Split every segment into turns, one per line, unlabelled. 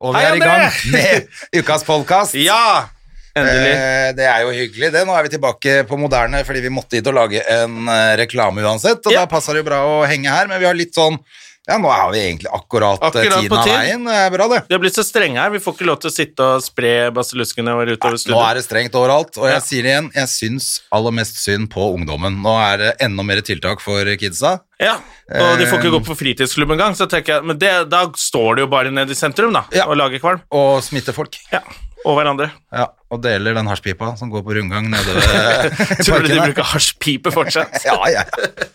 Og vi
Hei,
er i
André!
gang med ukas podkast.
Ja! Endelig.
Eh, det er jo hyggelig, det. Nå er vi tilbake på moderne fordi vi måtte hit og lage en eh, reklame uansett. Og
Ja.
da passer det jo bra å henge her, men vi har litt sånn Ja, nå er vi egentlig akkurat, eh,
Akkurat
tiden
på
av
tid.
veien. Det er bra, det.
Vi har blitt så strenge her. Vi får ikke lov til å sitte og spre basilluskene våre utover
Nå er
studioet.
det strengt overalt, og jeg
Ja.
sier det igjen, jeg syns aller mest synd på ungdommen. Nå er det enda mer tiltak for kidsa.
Ja, Og de får ikke
Eh.
gå på fritidsklubb engang. Så tenker jeg, men det, da står de jo bare nede i sentrum da,
Ja.
og lager kvalm.
Og smitte folk.
Ja, Og hverandre.
Ja, og deler den hasjpipa som går på rundgang nede ved
Tror du de
parken der.
bruker hasjpipe fortsatt?
Ja, ja.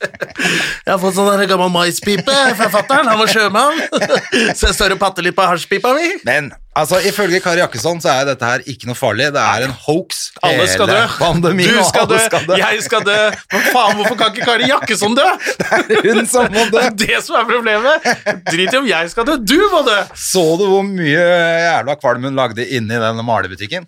Jeg har fått sånn der gammel maispipe fra fatter'n. Han var sjømann. Så jeg står og patter litt på hasjpipa mi.
Men altså, ifølge Kari Jakkesson så er dette her ikke noe farlig. Det er en hoax.
Alle skal dø.
Hele Pandemien,
du
og
skal dø.
alle skal dø.
Jeg skal dø. Men faen, hvorfor kan ikke Kari Jakkesson dø?
Hun som må
Det
dø.
er det som er problemet. Drit i om jeg skal dø. Du må dø!
Så du hvor mye jævla kvalm hun lagde inni den malebutikken?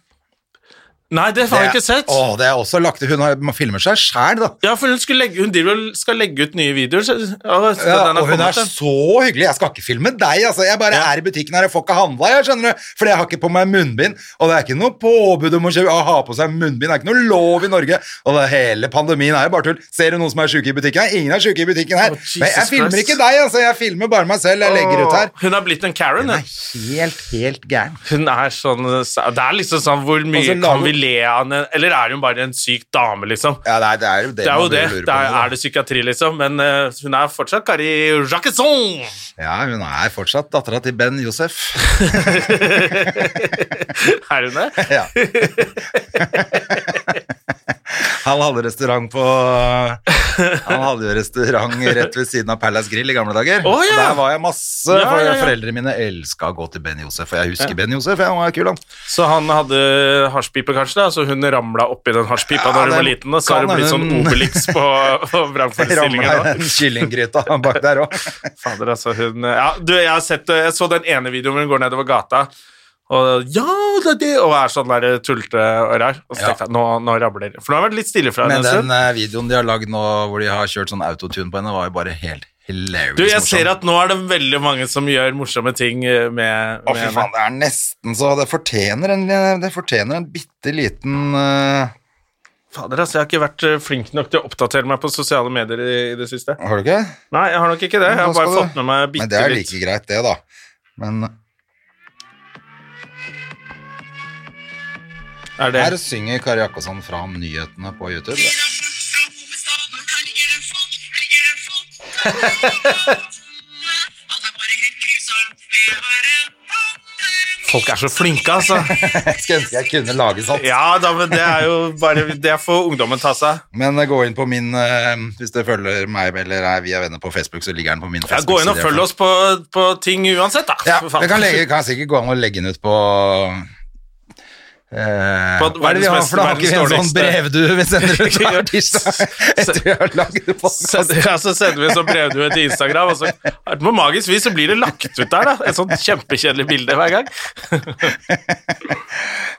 Nei, det har jeg ikke sett.
Å, det er også lagt Hun har, man filmer seg sjæl, da.
Ja, for hun, skulle legge, hun driver og skal legge ut nye videoer. Så, ja, så
Ja,
den har
og hun
kommet,
er
ja.
så hyggelig. Jeg skal ikke filme deg, altså. Jeg bare er i butikken her, jeg får ikke handla, jeg, skjønner du. Fordi jeg har ikke på meg munnbind. Og det er ikke noe påbud om å kjøpe, å ha på seg munnbind. Det er ikke noe lov i Norge. Og det, hele pandemien er jo bare tull. Ser du noen som er sjuke i butikken her? Ingen er sjuke i butikken her.
Å, Jesus
Men jeg filmer
Christ.
ikke deg, altså. Jeg filmer bare meg selv. Jeg legger ut her.
Åh, Hun er blitt en Karen. Hun.
Helt, helt gæren.
hun er sånn Det er liksom sånn Hvor
Og
mye
så Altså, lager
kan
hun-
vi le av henne? Eller er hun bare en syk dame, liksom?
Ja, det er, det er jo det,
Det er jo
man
det.
lurer
det er,
på.
er det psykiatri, liksom? Men eh, hun er fortsatt Kari Jackesson!
Ja, hun er fortsatt dattera til Ben Josef.
Er hun det?
Ja. Han hadde restaurant på Han hadde jo restaurant rett ved siden av Palace Grill i gamle dager.
Å, ja.
Og Der var jeg masse,
Ja,
for
ja, ja.
foreldrene mine elska å gå til Ben Josef. Og jeg husker Ben Josef, ja, han var kul, han.
Så han hadde hasjpipe, kanskje, da, så hun ramla oppi den hasjpipa
Ja,
da hun var
det
liten, og så har
kan
hun blitt sånn
hende.
Obelix på, på vrangforestillingen nå.
Ramla i den kyllinggryta bak der òg.
Fader, altså, hun ja, du, jeg, har sett, eh, jeg så den ene videoen hvor hun går nedover gata og ja, det er det, og er sånn der tulte og rar. Og så
Ja.
tenkte jeg, nå, nå rabler det. For nå har jeg vært litt stille fra
Men
henne. en
den
stund.
eh, videoen de har lagd nå hvor de har kjørt sånn autotune på henne, var jo bare helt hilarious.
Du, jeg
morsom.
ser at nå er det veldig mange som gjør morsomme ting eh, med,
Å,
med
fy faen, det er nesten så Det fortjener en, det fortjener en bitte liten eh,
Fader, altså, jeg har ikke vært eh, flink nok til å oppdatere meg på sosiale medier i, i det siste.
Har du ikke?
Nei, jeg har nok ikke det. Jeg
Men
har
hva
bare
skal
fått
du-
med meg
Men det
bitte
er
litt.
like greit, det, da. Men
Er det?
her synger Kari Jakkesson fra nyhetene på YouTube.
Folk er så flinke, altså.
Jeg skulle ønske jeg kunne lage sånt.
Ja da, men det er jo bare Det får ungdommen ta seg.
Men eh, gå inn på min eh, Hvis du følger meg eller er vi er venner på Facebook, så ligger den på min
Ja,
Facebook.
gå inn og følg oss på, på ting uansett, da.
Ja,
For faen.
vi kan, legge, kan sikkert gå an å legge den ut på eh,
På
hva er det vi har
verdens
for da? Har
beste,
ikke vi en sånn
verdens dårligste?
brevdue vi sender ut
Ja.
hver tirsdag etter vi har lagd
Send,
podkast?
ja, så sender vi en sånn brevdue til Instagram, og så på magisk vis så blir det lagt ut der, da. Et sånt kjempekjedelig bilde hver gang.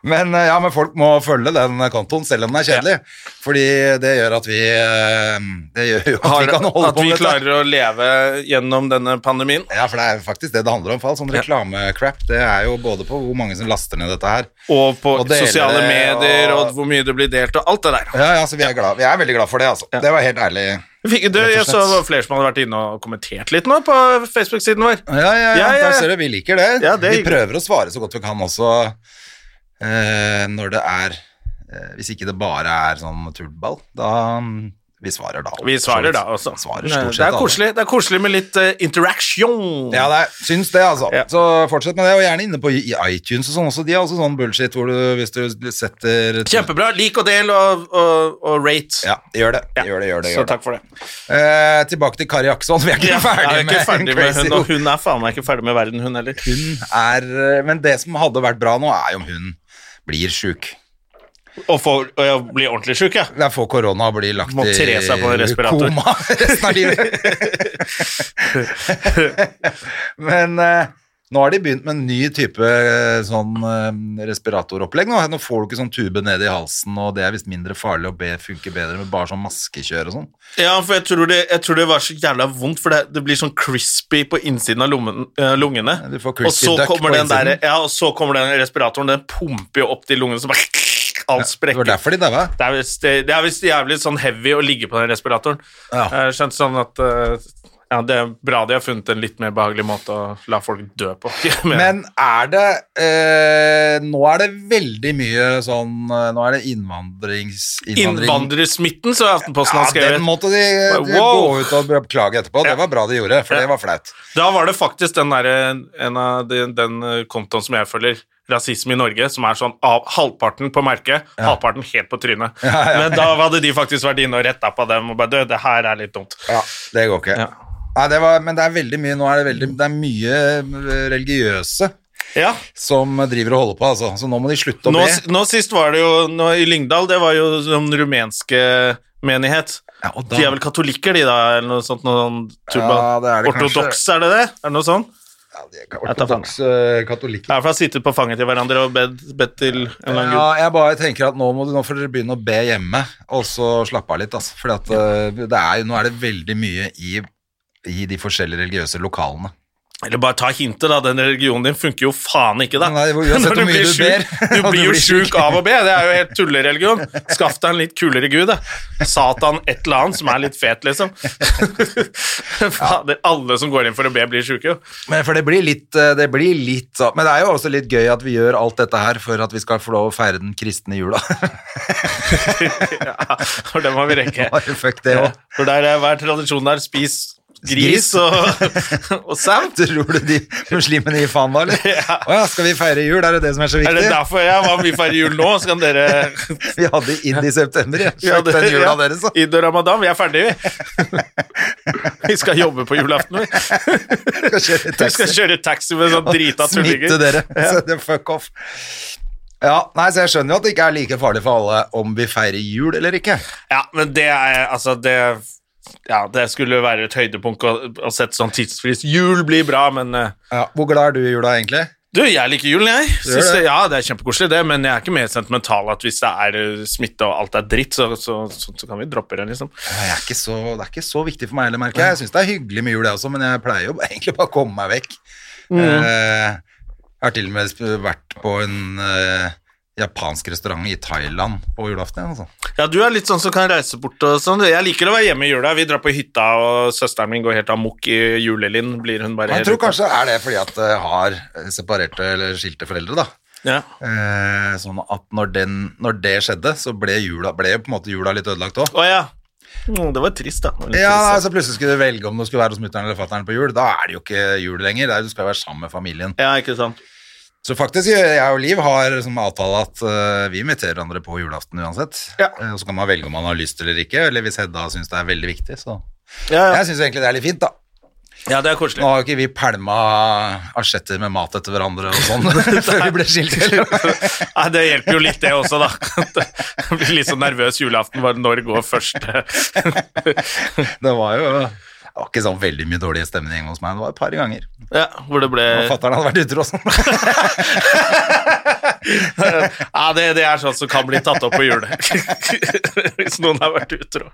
Men eh, ja, men folk må følge den kontoen selv om den er kjedelig. Fordi det gjør at vi eh, Det gjør jo at vi kan holde
at
på
vi
med dette.
klarer å leve gjennom denne pandemien.
Ja, for det er faktisk det det handler om. for all Sånn reklamecrap. Det er jo både på hvor mange som laster ned dette her.
Og på
Og dele
sosiale
det, og-
medier, og hvor mye det blir delt, og alt det der.
Ja, ja, så vi er, glad. Vi er veldig glad for det, altså. Det var helt ærlig.
Fikk, du,
Rett og
jeg så
slett.
var flere som hadde vært inne og kommentert litt nå på Facebook-siden vår.
Ja, ja, ja.
Ja, ja, ja.
Der ser du, vi liker det.
Ja, det er
vi prøver å svare så godt vi kan også eh, når det er eh, Hvis ikke det bare er sånn tullball, da mm, Vi svarer da.
Vi svarer da også.
Svarer
Nei,
stort
det,
sett
er
alle.
koselig, det er koselig med litt eh, interaction.
Ja, det er, syns det, altså.
Ja.
Så fortsett med det, og gjerne inne på i iTunes og sånn også. De har også sånn bullshit hvor du, hvis du setter
Kjempebra. Lik og del og, og, og rate.
Ja, gjør det. Gjør det, gjør
Så
det. Gjør det.
takk for det.
Eh, tilbake til Kari Akson. Vi er ikke
Ja, jeg
ferdige
er ikke ferdig med
Crazy
hun, og hun er faen meg ikke ferdig med verden, hun heller.
Hun er, eh, men det som hadde vært bra nå, er jo om hun blir sjuk.
Og, får- og jeg blir ordentlig sjuk, jeg.
Det er få korona og blir lagt
Må tre seg på en
i
respirator.
koma resten av livet. men eh, nå har de begynt med en ny type eh, sånn eh, respiratoropplegg. Nå Nå får du ikke sånn tube ned i halsen, og det er visst mindre farlig og be, funker bedre med bare sånn maskekjør og sånn.
Ja, for jeg tror, det, jeg tror det var så jævla vondt, for det, det blir sånn crispy på innsiden av lommen, eh, lungene.
Ja, du får
og,
crispy
så
duck
kommer
på
den der,
innsiden.
ja, og så kommer den respiratoren, den pumper jo opp til lungene, så bare alt
Det
sprekker.
var derfor de daua.
Det er visst det er visst jævlig sånn heavy å ligge på den respiratoren.
Ja.
Jeg skjønte sånn at eh, ja, Det er bra de har funnet en litt mer behagelig måte å la folk dø på.
Men er det eh, Nå er det veldig mye sånn eh, Nå er det innvandrings... innvandring-
Innvandrersmitten, så Aftenposten har
Ja,
skrevet.
den måtte de, de
Wow.
gå ut og beklage etterpå. Det
Ja.
var bra de gjorde, for
Ja.
det var flaut.
Da var det faktisk den der, en av de, den eh, kontoen som jeg følger, Rasisme i Norge, som er sånn av, halvparten på merket, halvparten helt på trynet. Men da hadde de faktisk vært inne og retta på dem og bare Du, det her er litt dumt.
Ja, det går ikke.
Ja.
Nei, det var, men det er veldig mye, nå er det veldig, det er mye eh, religiøse
Ja.
som driver og holder på, altså. Så nå må de slutte å
Nå,
be.
s- nå sist var det jo nå, i Lyngdal, det var jo sånn rumenske menighet.
Ja, og da-
De er vel katolikker, de da, eller noe sånt? Noen turba.
Ja, det er det
Ortodoks, er det det? Er det noe sånt?
Ja, de er ikke
Jeg tar faen.
ortodokse eh, katolikker.
Det er for å ha sittet på fanget til hverandre og bedt bedt til en eller annen
Ja, jeg bare tenker at nå må du nå får dere begynne å be hjemme, og så slappe av litt, altså. For nå er det veldig mye i, i de forskjellige religiøse lokalene.
Eller bare ta hintet, da. Den religionen din funker jo faen ikke, da.
Nei, uansett
Når
hvor mye
blir
du
sjuk-
ber,
Du
og
blir
du
jo
blir
sjuk
sjuk.
av å be. Det er jo helt tullereligion. Skaff deg en litt kulere gud, da. Satan et eller annet som er litt fet, liksom. Fader, alle som går inn for å be, blir sjuke, jo.
Men for det blir litt, eh, det blir litt sånn- Men det er jo også litt gøy at vi gjør alt dette her for at vi skal få lov å feire den kristne jula.
Ja, for det må vi rekke.
Bare fuck det òg.
For der er hver tradisjon der. Spis gris
Gris.
og, og sau.
Tror du de muslimene gir faen da, eller?
Ja.
Å ja, skal vi feire jul? Er det det som er så
Er det
viktig?
derfor jeg var mye færre jul nå? Så kan dere
Vi hadde inn i september, ja.
Ja,
Fuck
det-
den jula
ja.
deres, da.
Id og ramadan, vi er ferdige, vi. Vi skal jobbe på julaften, vi. Vi
Skal kjøre
skal
taxi.
kjøre taxi med sånn drita tullinger.
Smitte dere. Så det er fuck off. Ja, nei, så jeg skjønner jo at det ikke er like farlig for alle om vi feirer jul eller ikke.
Ja, men det er altså det ja, Det skulle være et høydepunkt å, å sette sånn tidsfrist. Jul blir bra, men eh,
Ja, hvor glad er du i jula, egentlig?
Du, jeg liker julen, jeg.
gjør
Synes
det.
det. Ja, det er kjempekoselig, det, men jeg er ikke mer sentimental at hvis det er eh, smitte og alt er dritt, så, så, så, så kan vi droppe det, liksom.
Nei, Jeg er ikke så, det er ikke så viktig for meg heller, merker jeg. Jeg syns det er hyggelig med jul, jeg også, men jeg pleier jo egentlig bare å komme meg vekk. Eh, jeg har til og med sp- vært på en eh, japansk restaurant i Thailand på julaften. Altså.
Ja, du er litt sånn som kan reise bort og sånn. Jeg liker å være hjemme i jula. Vi drar på hytta, og søsteren min går helt amok i julelinn. Blir hun bare
Men jeg
helt
tror kanskje er det fordi at jeg har separerte eller skilte foreldre, da.
ja.
Eh, sånn at når, den, når det skjedde, så ble jula, ble jo på en måte jula litt ødelagt òg.
Å ja. Mm, Det var trist, da. Det var litt
Ja,
trist, da.
altså plutselig skulle du velge om du skulle være hos mutter'n eller fatter'n på jul. Da er det jo ikke jul lenger. Det er, jo- du skal jo være sammen med familien.
ja, ikke sant.
Så faktisk, jeg og Liv har som avtale at eh, vi inviterer hverandre på julaften uansett.
Ja.
Eh, og så kan man velge om man har lyst eller ikke, eller hvis Hedda syns det er veldig viktig, så
Ja, ja.
Jeg syns egentlig det er litt fint, da.
ja det er
Nå
koselig.
har jo ikke vi pælma asjetter med mat etter hverandre og sånn før vi ble skilt. heller.
Nei, det hjelper jo litt, det også, da. Jeg blir litt så nervøs julaften. Bare når går første
Det var jo det var ikke sånn veldig mye dårlig stemning hjemme hos meg. Det var et par ganger.
Ja, hvor det ble
Og fatter'n hadde vært utro og sånn.
Ja, det, det er sånt som kan bli tatt opp på julet. Hvis noen har vært utro.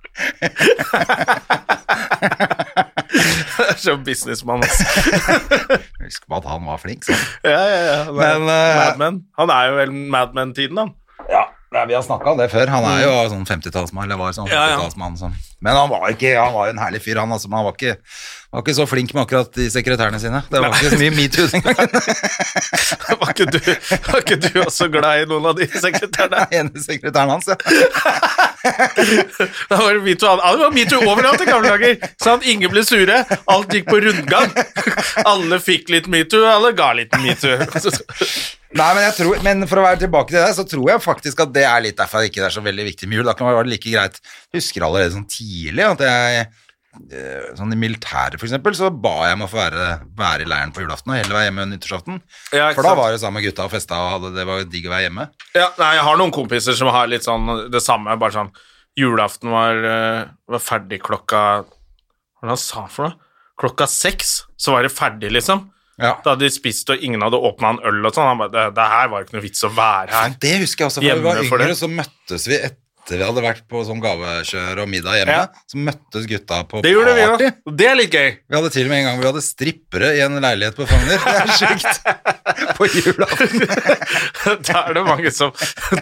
Det er sånn businessmann, altså.
Husk på at han var flink, så.
Ja, ja, ja.
Men, eh,
Mad Men. Han er jo vel Mad Men-tiden, han.
Nei, Vi har snakka om det før. Han er jo sånn 50-tallsmann. eller var sånn
Mm. Ja, ja.
50-tallsmann, sånn. Men han var, ikke, han var jo en herlig fyr, han. Altså, men han var ikke, var ikke så flink med akkurat de sekretærene sine. Det var ikke så mye metoo den gangen.
Var ikke, du, var ikke du også glad i noen av de sekretærene?
Den ene sekretæren hans, ja.
Da var det metoo ja, det var metoo overalt i gamle dager. Sånn, ingen ble sure. Alt gikk på rundgang. Alle fikk litt metoo, alle ga litt metoo.
Nei, men, jeg tror, men for å være tilbake til det, så tror jeg faktisk at det er litt derfor det ikke er så veldig viktig med jul. Da kan det være like greit. Jeg husker allerede sånn tidlig at jeg eh, Sånn I militæret, for eksempel, så ba jeg om å få være, være i leiren på julaften og heller være hjemme nyttårsaften.
Ja, ikke
for da
sant.
var det sammen med gutta og festa, og hadde, det var jo digg å være hjemme.
Ja, nei, jeg har noen kompiser som har litt sånn det samme, bare sånn Julaften var, eh, var ferdig klokka Hva var det han sa han for noe? Klokka seks, så var det ferdig, liksom.
Ja.
Da hadde de spist, og ingen hadde åpna en øl og sånn. Han bare det, 'Det her var ikke noe vits å være her'.
Nei, det husker jeg også. For da vi var
Hjemme for
yngre,
det.
så møttes vi etter vi hadde vært på sånn gavekjør og middag hjemme.
Ja.
Så møttes gutta på
Det gjorde vi
party.
da. Og Det er litt gøy.
Vi hadde til og med en gang vi hadde strippere i en leilighet på Frogner. Det er sjukt. På julaften.
da er det mange som,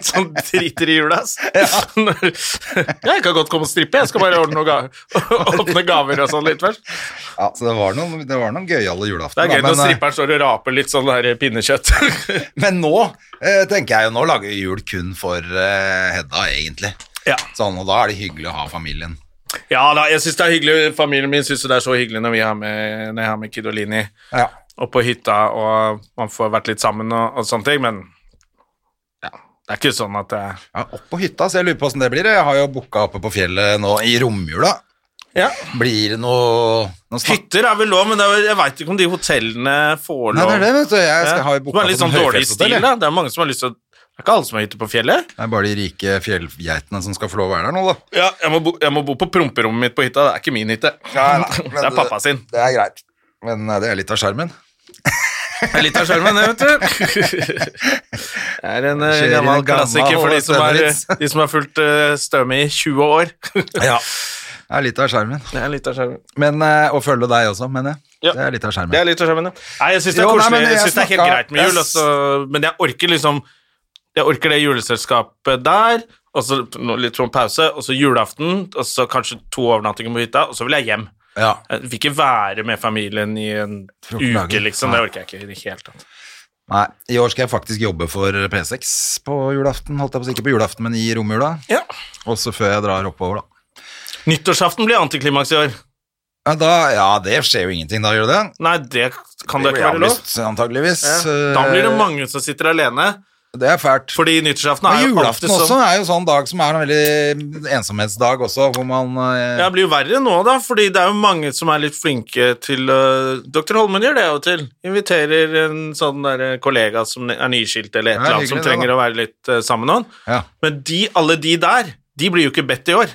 som driter i jula, ass. jeg kan godt komme og strippe, jeg skal bare ordne noen gaver, åpne gaver og sånn litt først.
Ja, så det var noen, det var noen gøyale
Det
julaftener.
er gøy
da,
når
men, eh,
stripperen står og raper litt sånn der pinnekjøtt.
Men nå eh, tenker jeg jo, nå lager vi jul kun for eh, Hedda, egentlig.
ja.
Sånn, og da er det hyggelig å ha familien.
ja da, jeg syns det er hyggelig. Familien min syns det er så hyggelig når vi har med, når jeg har med Kidolini
Ja.
og på hytta, og man får vært litt sammen og, og sånne ting, men ja, det er ikke sånn at jeg
Ja, opp på hytta, så jeg lurer på hvordan det blir. Jeg har jo booka oppe på fjellet nå i romjula.
ja.
Blir det noe, noe snakk-
Hytter er vel lov, men det er, vel- jeg veit ikke om de hotellene får lov.
Nei, det er det, vet du. Jeg skal,
Ja.
har jo
Det
booka
var litt
på
sånn
sånn
dårlig stil,
høyfjellshotell,
da.
jeg.
Det er mange som har lyst til å Det er ikke alle som er hytte på fjellet.
Det er bare de rike fjellgeitene som skal få lov å være der nå, da.
Ja, jeg må bo, jeg må bo på promperommet mitt på hytta. Det er ikke min hytte. det er pappa sin.
eh, Det er greit. Men eh, det er litt av skjermen.
Det er litt av sjarmen, det, vet du. Det er en eh,
Kjører
gammel
en gammel
klassiker for de som, er,
Stømmeritz.
de som har fulgt eh, Støme i 20 år.
Ja. Det er litt av skjermen.
Det er litt av skjermen.
Men eh, å følge deg også, mener jeg.
Ja.
Det er litt av skjermen.
Det er litt av skjermen, ja. Nei, jeg syns det er
Jo, nei,
koselig.
men
jeg
jeg
synes det er helt
snakka-
greit med jul,
jeg s-
altså. men jeg orker liksom Jeg orker det juleselskapet der, og så nå litt sånn pause, og så julaften, og så kanskje to overnattinger på hytta, og så vil jeg hjem.
Ja.
Jeg vil ikke være med familien i en uke,
Fjorten dager.
liksom. Det orker jeg ikke i det hele tatt.
Nei, i år skal jeg faktisk jobbe for P6 på julaften. Holdt jeg på å si ikke på julaften, men i romjula.
Ja.
Også før jeg drar oppover, da.
Nyttårsaften blir antiklimaks i år.
Ja, da, ja, det skjer jo ingenting, da gjør det det?
Nei, det kan da
blir
ikke være lov.
avlyst, Antageligvis.
Ja. Da blir det mange som sitter alene,
Eh, Det er fælt.
fordi nyttårsaften
Men
er jo
julaften
alltid sånn.
også er jo sånn dag som er en veldig ensomhetsdag også, hvor man eh,
Ja, det blir jo verre nå, da, fordi det er jo mange som er litt flinke til øh, Dr. Holmen gjør det jo til. Inviterer en sånn der øh, kollega som er nyskilt eller et
Ja,
eller annet, som
hyggelig det,
trenger
da.
å være litt øh, sammen med noen.
ja.
Men de, alle de der, de blir jo ikke bedt i år.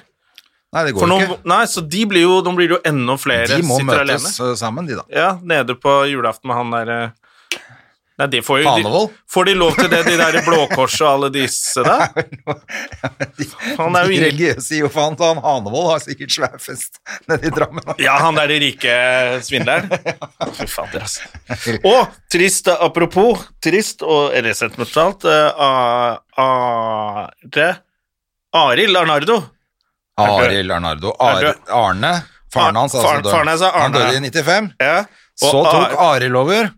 Nei, det
For
går
nå,
ikke.
nei, så de blir jo, nå blir det jo enda flere
De må
sitter
møtes
alene.
eh, sammen, de, da.
Ja, nede på julaften med han derre Nei, de får jo de,
Fanevold?
Får de lov til det, de der i Blå Kors og alle disse der? Han er jo
De
ingen-
religiøse gir jo faen, så han Hanevold har sikkert svær fest nede i Drammen. da.
Ja, han der rike svindleren. Fy fader, altså. Og trist, eh, apropos trist og eller sentimentalt eh, A- Are Arild Arnardo.
Arild Arnardo.
Er
Ar
død.
Arne, faren
Ar-
hans,
faren-
altså død.
faren hans er
Han
Arne.
døde i 95.
Ja.
Så tok
Are-
Arild over.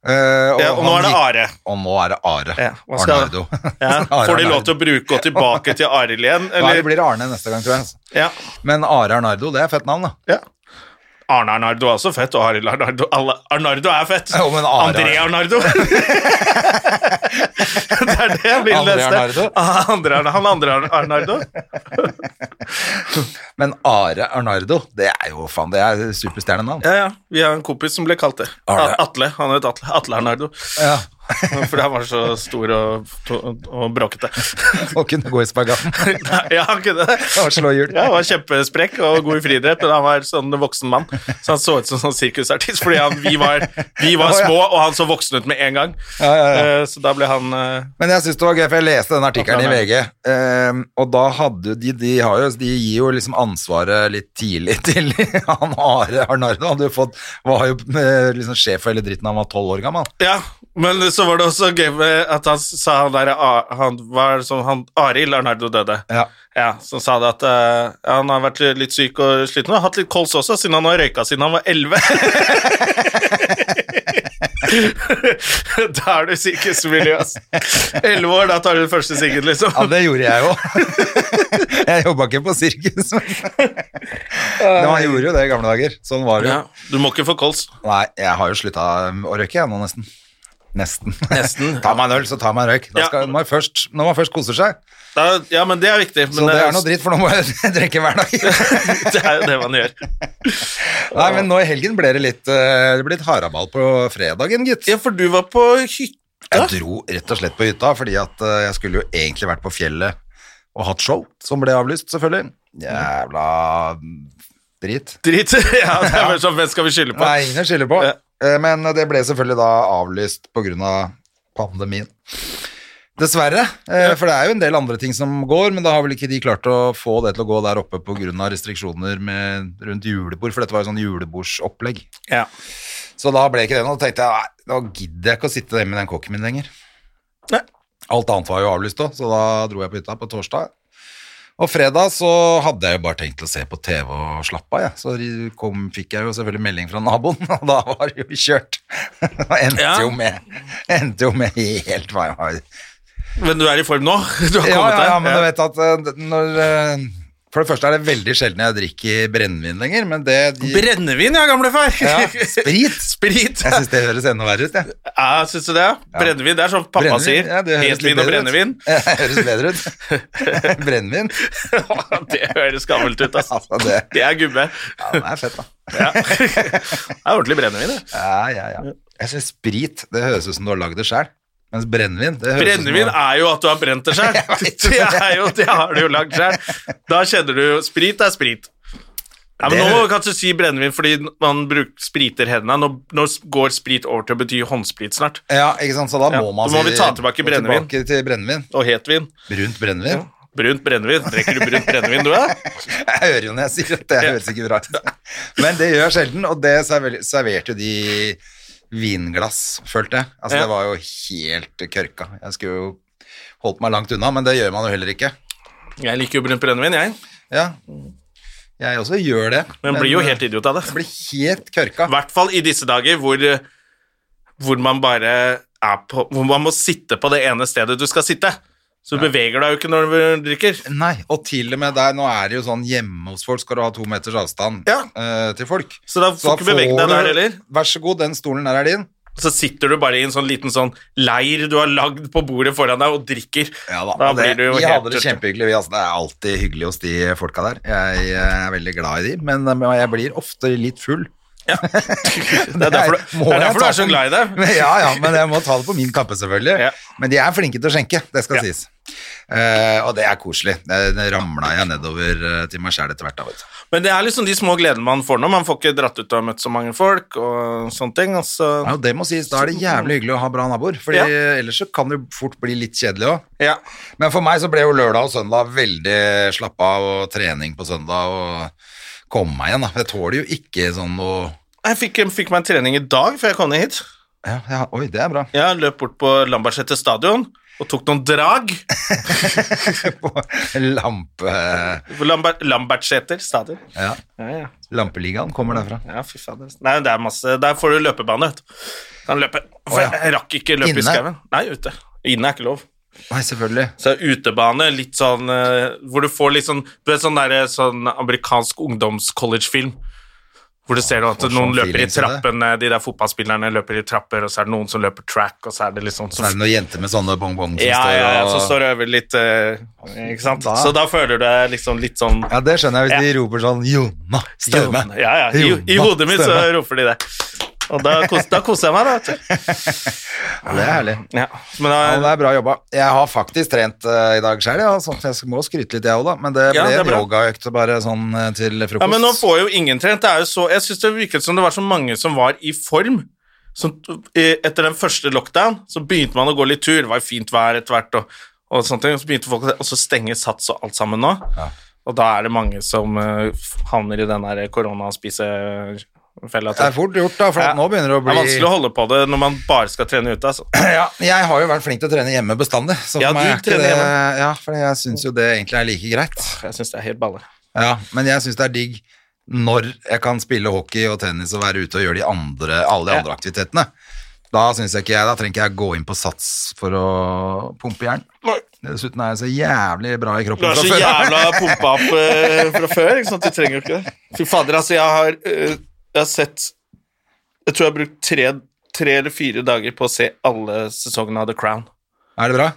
eh,
ja, Og nå er
han
det
gikk-
Are.
Og nå er det Are.
Ja, hva skal-
Arnardo.
Ja.
Are
Får de lov
Arnardo.
til å bruke gå tilbake til Arild igjen?
Nei, det
Eller?
blir Arne neste gang, tror jeg. altså.
Ja.
Men Are Arnardo, det er fett navn, da.
ja. Arne Arnardo er også fett, og Arild Arnardo alle, Arnardo er fett.
Jo, men Are-
André Arnardo. det er det jeg vil
Andre
lese.
Arnardo?
Andre, han andre Ar- Arnardo.
Men Are Arnardo, det er jo faen, det er superstjernenavn.
Ja, ja. Vi har en kompis som ble kalt det.
Arne.
A- Atle. Han het Atle. Atle Arnardo.
Ja.
Fordi han var så stor og, og, og bråkete.
Og kunne gå i spagaten
Nei, ja, han kunne det.
og slå hjul.
Ja, han var kjempesprekk og god i friidrett, men han var sånn voksen mann. Så han så ut som sånn sirkusartist, fordi han, vi, var, vi var
Å, ja.
små, og han så voksen ut med en gang.
Ja, ja, ja.
Eh, Så da ble han eh,
Men jeg synes det var gøy, for jeg leste den artikkelen i
Takk,
VG, ehm, og da hadde jo de, de, har jo, de gir jo liksom ansvaret litt tidlig til han Are Arnardo. Han hadde jo fått, var jo eh, liksom sjef for hele dritten da han var tolv år gammel.
Ja, Men så var det også gøy med at han sa han der A- han var som han, Arild Arnardo døde.
Ja.
Som sa det at eh, han har vært litt syk og sliten og hatt litt kols også, siden han har røyka siden han var 11. da er du psykisk miljøs. 11 år, da tar du den første siggen, liksom.
Ja, det gjorde jeg jo. jeg jobba ikke på sirkus, men Men man gjorde jo det i gamle dager. Sånn var det jo.
Ja, du må ikke få kols.
Nei, jeg har jo slutta å røyke jeg nå, nesten. Nesten.
Nesten.
ta meg en øl, så ta meg en røyk. Da
Ja.
skal, når, man først, når man først koser seg.
Da, ja, men det er viktig. Men
Så det er
også-
noe dritt, for nå må jeg drikke hver dag.
det er jo det man gjør.
Nei, men nå i helgen ble det litt, eh, det ble litt haraball på fredagen, gitt.
Ja, for du var på hytta.
Jeg dro rett og slett på hytta, fordi at eh, jeg skulle jo egentlig vært på fjellet og hatt show, som ble avlyst, selvfølgelig. Jævla drit.
Drit. Ja, det er bare sånn, hvem skal vi skylde på?
Nei, ingen skylder på.
Ja.
Eh, Men det ble selvfølgelig da avlyst pga. Av pandemien. Dessverre, eh, for det er jo en del andre ting som går, men da har vel ikke de klart å få det til å gå der oppe pga. restriksjoner med, rundt julebord, for dette var jo sånn julebordsopplegg.
Ja.
Så da ble ikke det noe, og tenkte jeg nei, da gidder jeg ikke å sitte der med den kokken min lenger.
Nei.
Alt annet var jo avlyst da, så da dro jeg på hytta på torsdag. Og fredag så hadde jeg jo bare tenkt å se på TV og slappe av, jeg. Så ri- kom, fikk jeg jo selvfølgelig melding fra naboen, og da var det jo kjørt. Og endte,
Ja.
jo med, endte jo med helt hva jeg har
Men du er i form nå? Du har
ja,
kommet
ja,
deg?
ja, men du vet at eh, når eh, For det første er det veldig sjelden jeg drikker brennevin lenger, men det de,
Brennevin, ja, gamle far.
Ja, sprit.
Sprit.
Jeg syns det høres enda verre ut, jeg.
Ja, syns du det? Brennevin, det er sånn pappa
Brennevin,
sier.
ja, det høres litt
Hestvin og
bedre ut.
brennevin.
Det høres bedre ut. brennevin.
det høres gammelt ut, ass.
Altså, det,
Det er gubbe.
ja, det er fett, da.
Ja. Det er ordentlig brennevin, det.
Ja, ja, ja. Jeg synes sprit, det høres ut som du har lagd det sjøl. Mens brennevin det høres ut som
Brennevin
du har-
er jo at du har brent det sjøl. Det er jo, det har du jo lagd sjøl. Da kjenner du jo Sprit er sprit. Ja, men nå
Det-
må vi kanskje si brennevin fordi man bruk, spriter hendene. Nå, nå går sprit over til å bety håndsprit snart.
Ja, ikke sant, så da
Ja,
må man
da må
si-
vi ta tilbake
gå
brennevin.
Tilbake til brennevin.
Og hetvin.
Brunt brennevin.
Brunt brennevin. Drikker du brunt brennevin, du, da?
Jeg hører jo når jeg sier at det høres ikke bra ut. Men det gjør sjelden, og det server- serverte jo de vinglass, følte jeg. Altså,
Ja.
det var jo helt kørka. Jeg skulle jo holdt meg langt unna, men det gjør man jo heller ikke.
Jeg liker jo brunt brennevin, jeg.
Ja. Jeg også gjør det.
Men blir jo
eh,
helt idiot av
Jeg
det.
blir helt kørka.
I hvert fall i disse dager hvor, hvor man bare er på Hvor man må sitte på det ene stedet du skal sitte. Så du beveger deg jo ikke når du drikker.
Nei, og til og med der, nå er det jo sånn hjemme hos folk skal du ha to meters avstand
Ja.
eh, til folk.
Så da får du ikke bevege deg
du-
der heller.
Vær så god, den stolen der er din.
Så sitter du bare i en sånn liten sånn leir du har lagd på bordet foran deg, og drikker.
og det,
blir du jo
vi
helt
hadde det
tørt.
kjempehyggelig, vi. Altså, det er alltid hyggelig hos de folka der. Jeg, eh, er veldig glad i de, men eh, men jeg blir ofte litt full.
Det er derfor, du,
må
det er
jeg
derfor du
ta
er så
på-
glad i det.
Men- Ja, ja, men jeg må ta det på min kappe, selvfølgelig.
Ja.
Men de er flinke til å skjenke, det skal
Ja.
sies. Eh, og det er koselig. Det, det ramla jeg nedover eh, til meg sjæl etter hvert. da, vet du.
Men det er liksom de små gledene man får nå. Man får ikke dratt ut og møtt så mange folk og sånne ting. og så-
Ja, og det må sies, da er det jævlig hyggelig å ha bra naboer, for
Ja.
ellers så kan det jo fort bli litt kjedelig òg.
Ja.
Men for meg så ble jo lørdag og søndag veldig slapp av, og trening på søndag og komme meg igjen, da. Jeg tåler jo ikke sånn noe
Jeg fikk, fikk meg en trening i dag før jeg kom ned hit.
ja, ja, Oi, det er bra.
Jeg løp bort på Lambertseter stadion og tok noen drag.
Lampe...
Lamber, Lambertseter stadion.
Ja.
Ja, ja.
Lampeligaen kommer derfra.
ja, fy faen. Nei, det er masse Der får du løpebane, vet du. Kan løpe. For
Å, ja.
jeg rakk ikke løpe
Inne?
i skauen. Nei, ute. Inne er ikke lov.
Nei, selvfølgelig.
Så er utebane litt sånn eh, Hvor du får litt sånn Du vet sånn derre sånn amerikansk ungdoms-college-film. Hvor du ser at
får
noen
sånn
løper i
feeling til det.
trappene, de der fotballspillerne løper i trapper, og så er det noen som løper track, og så er det litt sånn
Så er det noen jenter med sånne bongbong som
ja,
står
ja, ja,
og
så står det over litt eh, Ikke sant?
Da-
Så da føler du deg liksom litt sånn
Ja, det skjønner jeg hvis de roper sånn Jonna Støme.
Ja, ja. I, I
Jonna
hodet mitt så
Støme.
roper de det. Og da, kos, da koser jeg meg, da. vet
Ja, Det er herlig.
du. Ja. Men
Ja, det
da,
er bra jobba. Jeg har faktisk trent eh, i dag sjøl, ja, sånn at jeg må skryte litt, jeg òg, da. Men det ble
Ja, det er
en
bra.
yogaøkt bare sånn eh, til frokost.
ja, men nå får jo ingen trent. Det er jo så, jeg syns det virket som det var så mange som var i form. Som, eh, etter den første lockdown så begynte man å gå litt tur. Det var jo fint vær etter hvert, og, og sånne ting. Og så begynte folk å og så stenge sats og alt sammen nå. Og da er det mange som eh, havner i den der koronaspise... fella
Det er fort gjort, da, for at nå begynner det å bli
Det er vanskelig å holde på det når man bare skal trene ute. Altså.
ja, Jeg har jo vært flink til å trene hjemme bestandig. Så for
Ja,
meg
du
er ikke
trener
det,
hjemme.
Ja, for jeg syns jo det egentlig er like greit.
Jeg syns det er helt balle.
Ja, Men jeg syns det er digg når jeg kan spille hockey og tennis og være ute og gjøre de andre, alle de
Ja.
andre aktivitetene. Da synes jeg ikke jeg, da trenger ikke jeg gå inn på sats for å pumpe jern. Dessuten er jeg så jævlig bra i
Du
kroppen
er
fra
så
før. av.
jævla pumpa opp eh, fra før, ikke sant? Du trenger jo ikke det. Fy fader, altså, jeg har, eh, jeg har sett Jeg tror jeg har brukt tre, tre eller fire dager på å se alle sesongene av The Crown.
Er det bra?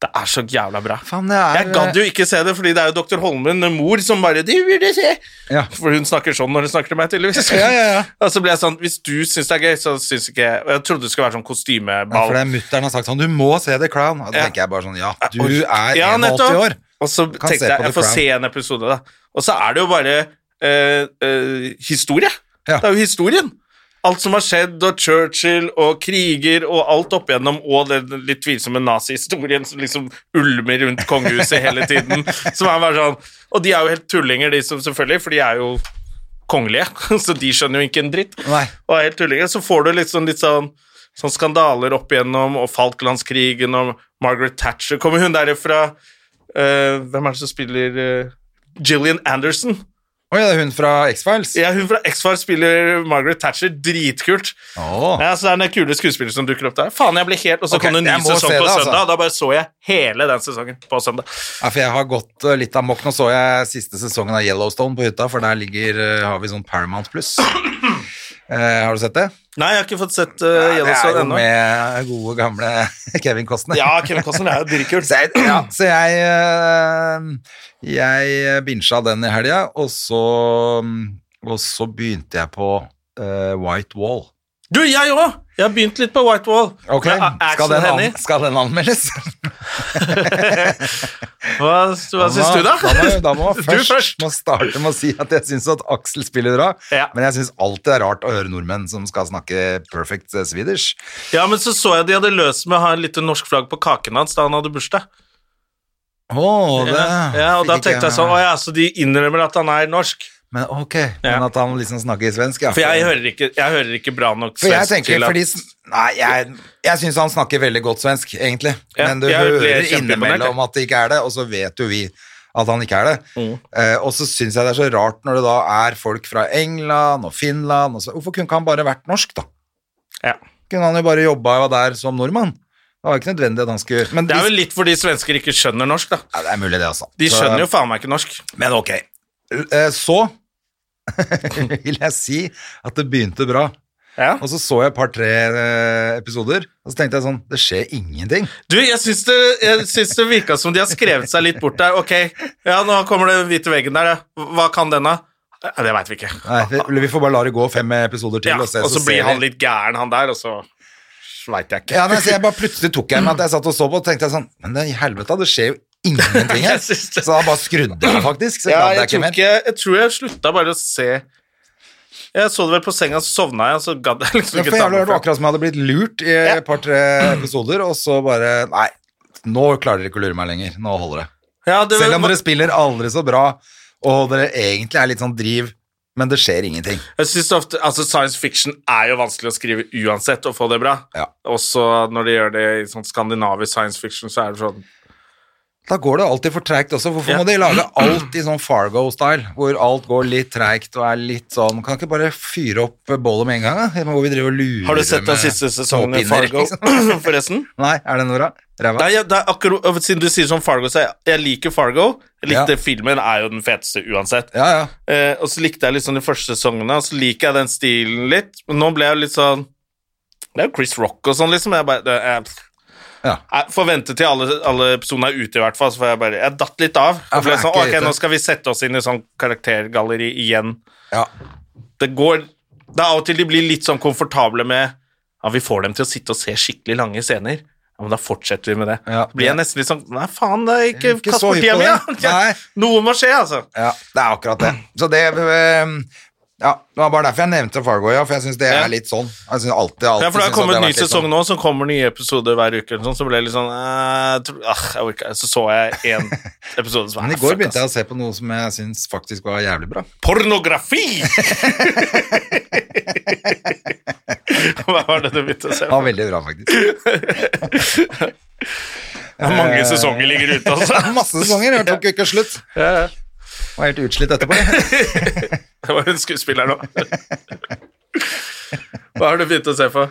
Det er så jævla bra.
Faen, det er eh,
Jeg gadd jo ikke se det, fordi det er jo dr. Holmen, mor, som bare «Du burde se!»
Ja.
For hun snakker sånn når hun snakker til meg, tydeligvis.
Ja, ja, ja.
Og så ble jeg sånn Hvis du syns det er gøy, så syns ikke jeg Og jeg trodde det skulle være sånn
Ja, for
kostymeball.
det er mutter'n har sagt sånn 'Du må se The Crown'. Og da
Ja.
tenker jeg bare sånn Ja, du
Og-
er
Ja,
81
nettopp.
år.
Og så
kan se
tenkte jeg
på The
jeg får
Crown.
se en episode, da. Og så er det jo bare eh, eh, historie.
Ja.
Det er jo historien. Alt som har skjedd, og Churchill og kriger og alt opp igjennom, og den litt tvilsomme nazihistorien som liksom ulmer rundt kongehuset hele tiden. Som er bare sånn Og de er jo helt tullinger, de som selvfølgelig, for de er jo kongelige, så de skjønner jo ikke en dritt.
Nei.
Og er helt tullinger. Så får du litt sånn, litt sånn, sånn skandaler opp igjennom, og Falklandskrigen og Margaret Thatcher Kommer hun der fra eh, Hvem er det som spiller eh, Gillian Anderson.
Oi, det er hun fra X-Files?
Ja, hun fra X-Files spiller Margaret Thatcher. Dritkult.
Åh.
Ja, så det er den kule skuespilleren som dukker opp der. Faen, jeg ble helt, Og så
Ah. Ok,
kom det en ny
jeg må
sesong
se
på
det, altså.
søndag, og da bare så jeg hele den sesongen på søndag.
Ja, for jeg har gått eh, litt amok. Nå så jeg siste sesongen av Yellowstone på hytta, for der ligger, eh, har vi sånn Paramount Pluss. Eh, har du sett det?
Nei, jeg har ikke fått sett uh,
det er
Yellowstone
jo
ennå.
med gode, gamle Kevin Costner.
Ja, Kevin Costner er jo dritkult.
Så jeg, ja, så jeg, eh, jeg binsja den i helga, og så, mm, og så begynte jeg på eh, White Wall.
Du, jeg òg! Jeg har begynt litt på White Wall.
Ok,
Med a-
skal
Action
den, an,
Henny.
skal den anmeldes?
Hva, hva syns du, da?
Da må, da må man
Du
først,
først.
Må starte med å si at jeg syns at Aksel spiller bra,
Ja.
men jeg syns alltid det er rart å høre nordmenn som skal snakke perfect eh, Swedish.
Ja, men så så jeg de hadde løst med å ha en liten norsk flagg på kaken hans da han hadde bursdag.
Åh, det
Ja, og da
fikk ikke
tenkte jeg sånn, å ja, så de innrømmer at han er norsk.
Men ok,
Ja.
men at han liksom snakker svensk, ja.
For jeg hører ikke, jeg hører ikke bra nok
For jeg
svensk
tenker,
til at
fordi Nei, jeg, jeg syns han snakker veldig godt svensk, egentlig.
Ja,
Men du
jeg ble
hører
kjempeimponert,
innimellom at det ikke er det, og så vet jo vi at han ikke er det.
Mm.
Eh, og så syns jeg det er så rart når det da er folk fra England og Finland og så, Hvorfor kunne ikke han bare vært norsk, da?
ja.
Kunne han jo bare jobba der som nordmann? Det var ikke nødvendig at han skulle Men
Det er
hvis-
vel litt fordi svensker ikke skjønner norsk, da.
ja, det er mulig, det, altså.
De skjønner jo faen meg ikke norsk.
Men ok. Eh, Så vil jeg si at det begynte bra.
Ja.
Og så så jeg et par-tre eh, episoder, og så tenkte jeg sånn Det skjer ingenting.
Du, jeg syns det, jeg syns det virka som de har skrevet seg litt bort der. Ok, ja, nå kommer den hvite veggen der, ja. Hva kan den, da? Ja, det veit vi ikke.
Nei, vi, vi får bare la det gå fem episoder til,
Ja,
og, se,
og så
ser
blir han
vi.
litt gæren, han der, og så veit jeg ikke.
ja, nei, så jeg bare Plutselig tok jeg meg at jeg satt og så på, og tenkte jeg sånn Men det, i helvete, det skjer jo ingenting her.
Jeg synes det.
Så da bare skrudde jeg faktisk. Så
Ja,
gadd jeg
jeg,
ikke
tror
mer.
ikke, jeg tror jeg slutta bare å se Jeg så det vel på senga, så sovna jeg, og så gadd jeg liksom
Men
ikke
for
ta
jævlig
meg
var det
fra.
akkurat som jeg hadde blitt lurt i et par-tre episoder, og så bare Nei, nå klarer dere ikke å lure meg lenger. Nå holder det.
Ja, det,
Selv om dere spiller aldri så bra, og dere egentlig er litt sånn driv, men det skjer ingenting.
Jeg synes ofte, altså Science fiction er jo vanskelig å skrive uansett og få det bra.
Ja.
Også når de gjør det i sånn skandinavisk science fiction, så er det sånn
Da går det alltid for treigt også. Hvorfor
Ja.
må de lage alt i sånn Fargo-style, hvor alt går litt treigt og er litt sånn Kan ikke bare fyre opp bålet med en gang, da? Hvor vi driver og lurer
Har du sett den
med
siste sesongen i
småpinner,
Fargo,
liksom?
forresten?
Nei, er det noe bra? Ræva?
Nei, jeg, det er akkurat, Siden du sier sånn Fargo, så jeg, jeg liker Fargo. Jeg likte
Ja.
Filmen er jo den feteste uansett.
Ja, ja.
Eh, og så likte jeg litt sånn de første sesongene, og så liker jeg den stilen litt. Men nå ble jeg litt sånn Det er jo Chris Rock og sånn, liksom. Jeg bare det, jeg,
Ja.
jeg får vente til alle, alle episodene er ute, i hvert fall. Så får jeg bare Jeg datt litt av.
Ja,
Jeg
for
ble
det er
sånn,
ikke
ok,
ute.
nå skal vi sette oss inn i sånn karaktergalleri igjen.
ja.
Det går Det er av og til de blir litt sånn komfortable med Ja, vi får dem til å sitte og se skikkelig lange scener. Ja, men da fortsetter vi med det.
Ja.
Så blir jeg nesten litt sånn Nei, faen, det er ikke,
Ikke
kast
så
bort
hypp
tida
på
mi,
det.
ja.
Nei.
Noe må skje, altså.
Ja, det er akkurat det. Så det eh, Ja, det var bare derfor jeg nevnte Fargo, ja, for jeg syns det
Ja.
er litt sånn. Jeg synes alltid, alltid
Ja, for det har
synes at
kommet
har
en ny
vært litt
sesong
sånn.
nå, som kommer nye episoder hver uke. Eller sånn, så ble jeg litt sånn eh, tro- ah, jeg orker, ikke. Så så jeg en episode som
Men i går begynte jeg å se på noe som jeg syns faktisk var jævlig bra.
Pornografi! Hva var det du begynte å se
Det var
på?
veldig bra, faktisk.
Mange sesonger ligger ute, altså.
eh, Masse sesonger, det tok jo ikke slutt.
Ja, ja.
Var helt utslitt etterpå.
Det var en skuespiller nå. Hva har du begynt å se på?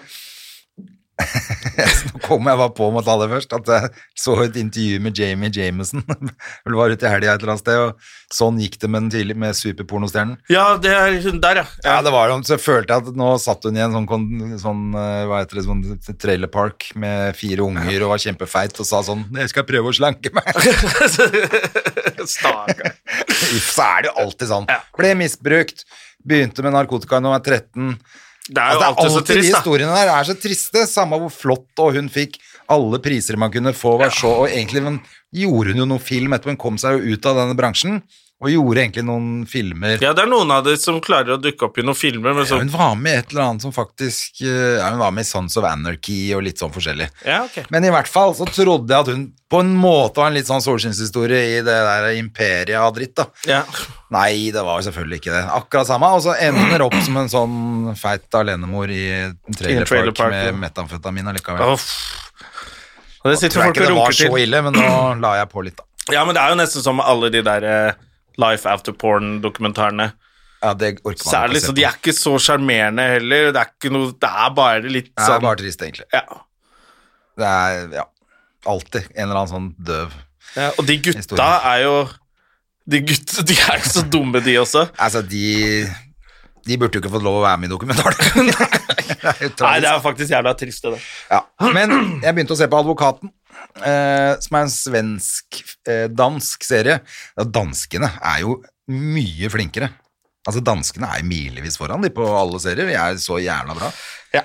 Så kom jeg bare på med å ta det først, at jeg så et intervju med Jamie Jameson. Vel var ute i helga et eller annet sted, og sånn gikk det med, den tidlig, med superpornostjernen.
Ja, det er hun der, ja.
Ja, det var det. Så jeg følte jeg at nå satt hun i en sånn, kon- sånn eh, hva heter det, sånn trailerpark med fire unger og var kjempefeit og sa sånn 'Jeg skal prøve å slanke meg'.
Stakkar.
Uff, så er det jo alltid sånn. Ble misbrukt. Begynte med narkotika da jeg var 13.
Det er jo
Altså, det er
alltid så
alltid de
trist, da.
historiene der er så triste. Samme hvor flott og hun fikk alle priser man kunne få. Var så, og egentlig men, gjorde hun jo noen film etterpå. Hun kom seg jo ut av denne bransjen og gjorde egentlig noen filmer.
Ja, det er noen av de som klarer å dukke opp i noen filmer, men så
Hun var med i et eller annet som faktisk eh, ja, Hun var med i Sons of Anarchy og litt sånn forskjellig.
Ja, ok.
Men i hvert fall så trodde jeg at hun på en måte var en litt sånn solskinnshistorie i det der imperiet av dritt, da.
Ja.
Nei, det var jo selvfølgelig ikke det. Akkurat samme. Og så ender opp som en sånn feit alenemor i en
I en
trailerpark
trailer park, ja.
med metamfetamin allikevel.
Uff. Og det sitter
tror jeg
folk og
ikke det var
runker
så
til.
ille, men nå la jeg på litt, da.
Ja, men det er jo nesten som med alle de der eh, Life After Porn-dokumentarene.
Ja, det orker
Så
man
er det
ikke å se
liksom, De er ikke så sjarmerende heller. Det er ikke noe, det er bare litt
på. Det er
sånn
bare trist, egentlig.
ja.
Det er ja, alltid en eller annen sånn døv
ja, Og de gutta
Historien.
er jo De gutta, de er jo så dumme, de også.
Altså, de De burde jo ikke fått lov å være med i dokumentaren. det er jo tragisk.
Nei, det er faktisk jævla trist, det der.
Ja. Men jeg begynte å se på Advokaten, eh, som er en svensk-dansk serie. Ja, danskene er jo mye flinkere. Altså, danskene er milevis foran de på alle serier. Vi er så jævla bra.
Ja.